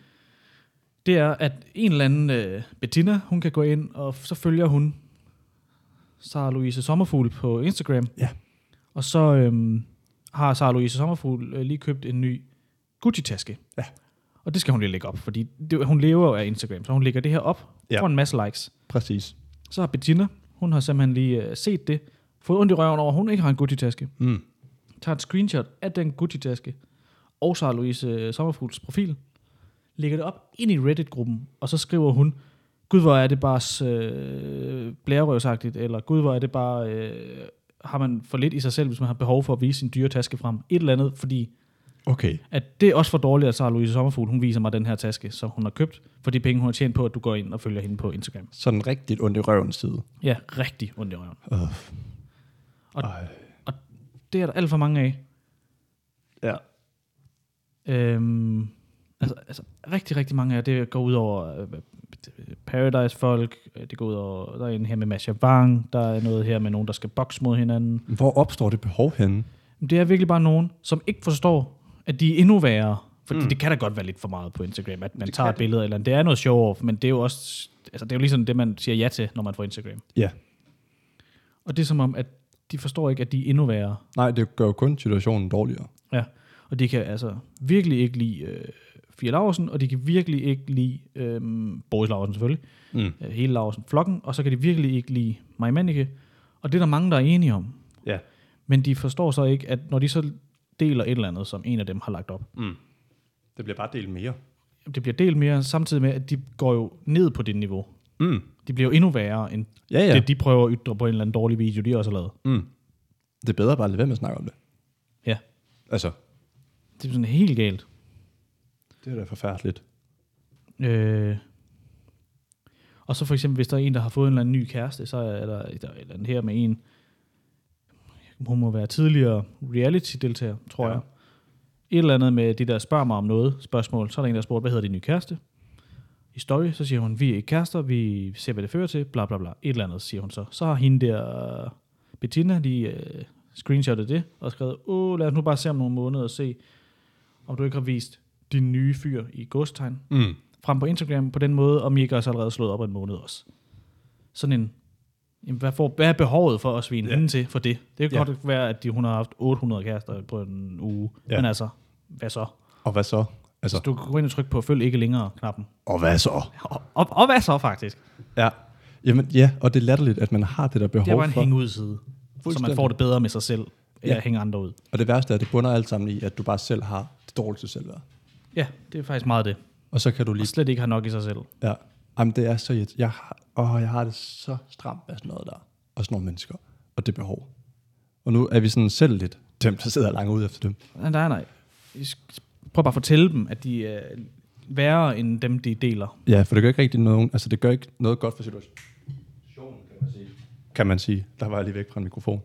det er, at en eller anden øh, Bettina, hun kan gå ind, og f- så følger hun Sara Louise Sommerfugl på Instagram. Ja. Og så øhm, har Sara Louise Sommerfugl øh, lige købt en ny Gucci-taske. Ja. Og det skal hun lige lægge op, fordi det, hun lever jo af Instagram, så hun lægger det her op, Ja. ja. får en masse likes. præcis. Så har Bettina, hun har simpelthen lige øh, set det, fået ondt i røven over, at hun ikke har en Gucci-taske. Mm. Tager et screenshot af den Gucci-taske og Sara Louise øh, Sommerfugls profil, lægger det op ind i Reddit-gruppen, og så skriver hun, gud hvor er det bare øh, blærerøvsagtigt, eller gud hvor er det bare, øh, har man for lidt i sig selv, hvis man har behov for at vise sin dyre taske frem. Et eller andet, fordi Okay. at det er også for dårligt, at Sara Louise Sommerfugl, hun viser mig den her taske, som hun har købt, for de penge, hun har tjent på, at du går ind og følger hende på Instagram. Sådan rigtigt ondt i røven side. Ja, rigtig ondt i røven. Uh. Og- Ej. Det er der alt for mange af. Ja. Øhm, altså, altså, rigtig, rigtig mange af det går ud over øh, Paradise-folk, øh, det går ud over, der er en her med Masha Wang, der er noget her med nogen, der skal bokse mod hinanden. Hvor opstår det behov henne? Men det er virkelig bare nogen, som ikke forstår, at de er endnu værre. Fordi mm. det kan da godt være lidt for meget på Instagram, at man det tager et billede eller andet. Det er noget show-off, men det er jo også, altså det er jo ligesom det, man siger ja til, når man får Instagram. Ja. Og det er som om, at de forstår ikke, at de er endnu værre. Nej, det gør jo kun situationen dårligere. Ja, og de kan altså virkelig ikke lide øh, Fia Laursen, og de kan virkelig ikke lide øh, Boris Laursen selvfølgelig, Mm. øh, hele Laursen-flokken, og så kan de virkelig ikke lide Maja Mannicke, og det er der mange, der er enige om. Ja. Men de forstår så ikke, at når de så deler et eller andet, som en af dem har lagt op, Mm. Det bliver bare delt mere. det bliver delt mere, samtidig med, at de går jo ned på det niveau. Mm. De bliver jo endnu værre, end Ja, ja. ja. det, de prøver at ytre på en eller anden dårlig video, de også har lavet. Mm. Det er bedre bare at lade være med at snakke om det. Ja, Altså, det er sådan helt galt. det er da forfærdeligt. Øh. Og så for eksempel, hvis der er en, der har fået en eller anden ny kæreste, så er der et der er et eller andet her med en, hun må være tidligere reality-deltager, tror Ja. ja. jeg. Et eller andet med det der spørg mig om noget spørgsmål. Så er der en, der har spurgt, hvad hedder din nye kæreste? I story, så siger hun, vi er ikke kærester, vi ser, hvad det fører til, bla bla bla. Et eller andet, siger hun så. Så har hende der, øh, Bettina, lige øh, screenshotet det og skrevet, åh, lad os nu bare se om nogle måneder og se, om du ikke har vist din nye fyr i godstegn Mm. frem på Instagram på den måde, og Mika er så allerede slået op en måned også. Sådan en, jamen, hvad, får, hvad er behovet for at svine Ja. ja. hende til for det? Det kan Ja. ja. godt være, at de, hun har haft 800 kærester på en uge, Ja. ja. men altså, hvad så? Og hvad så? Altså, Så du kan gå ind og trykke på følg ikke længere-knappen. og hvad så? Og, og, og hvad så faktisk? Ja. Jamen, ja, og det er latterligt, at man har det der behov Det er bare en for. hængeud-side, så man Fuldstændig. får det bedre med sig selv, end Ja. ja. at hænge andre ud. Og det værste er, at det bunder alt sammen i, at du bare selv har det dårligste selvværd. Ja, det er faktisk meget det. Og så kan du lige... Og slet ikke har nok i sig selv. Ja. Jamen, det er så... irrit- Jeg har, åh, jeg har det så stramt med sådan noget der. Og sådan nogle mennesker. Og det behov. Og nu er vi sådan selv lidt dem, der sidder langt ude efter dem. Nej, nej, nej. I sk- Prøv bare at fortælle dem, at de er værre end dem, de deler. Ja, for det gør ikke rigtig nogen... Altså, det gør ikke noget godt for situationen, kan man sige. Kan man sige. Der var jeg lige væk fra en mikrofon.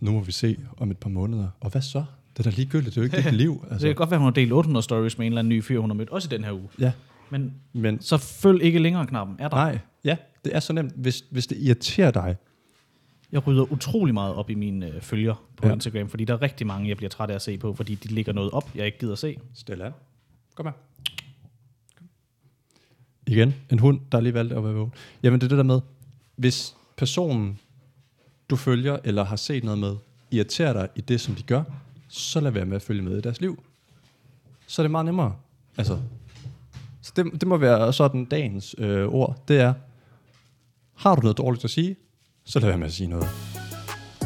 Nu må vi se om et par måneder. Og hvad så? Det er da ligegyldigt. Det er jo ikke dit liv. Altså, det Altså. kan godt være, hun har delt 800 stories med en eller anden ny fyr, hun har mødt, også i den her uge. Ja, Men men så følg ikke længere knappen, er der? Nej, ja, det er så nemt. Hvis, hvis det irriterer dig, Jeg rydder utrolig meget op i mine øh, følger på Ja. ja. Instagram, fordi der er rigtig mange, jeg bliver træt af at se på, fordi de ligger noget op, jeg ikke gider se. Stella. Kom her. Kom. Igen, en hund, der lige valgte at være vågen. Jamen, det er det der med, hvis personen, du følger eller har set noget med, irriterer dig i det, som de gør, så lad være med at følge med i deres liv. Så er det meget nemmere. Altså, så det, det må være sådan dagens øh, ord. Det er, har du noget dårligt at sige, så lad være med at sige noget.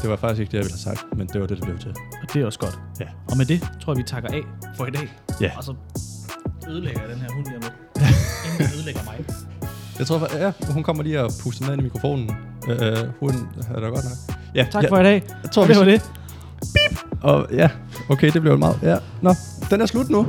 Det var faktisk ikke det, jeg ville have sagt, men det var det, det blev til. Og det er også godt. Ja. Og med det tror jeg, vi takker af for i dag. Ja. Og så ødelægger jeg den her hund lige om lidt. Inden den ødelægger mig. Jeg tror, ja, hun kommer lige og puster ned i mikrofonen. Øh, øh, hun er da godt nok. Ja, Tak ja, ja. for i dag. Jeg tror, det var det. Og, ja, okay, det blev meget. Ja, nå, den er slut nu.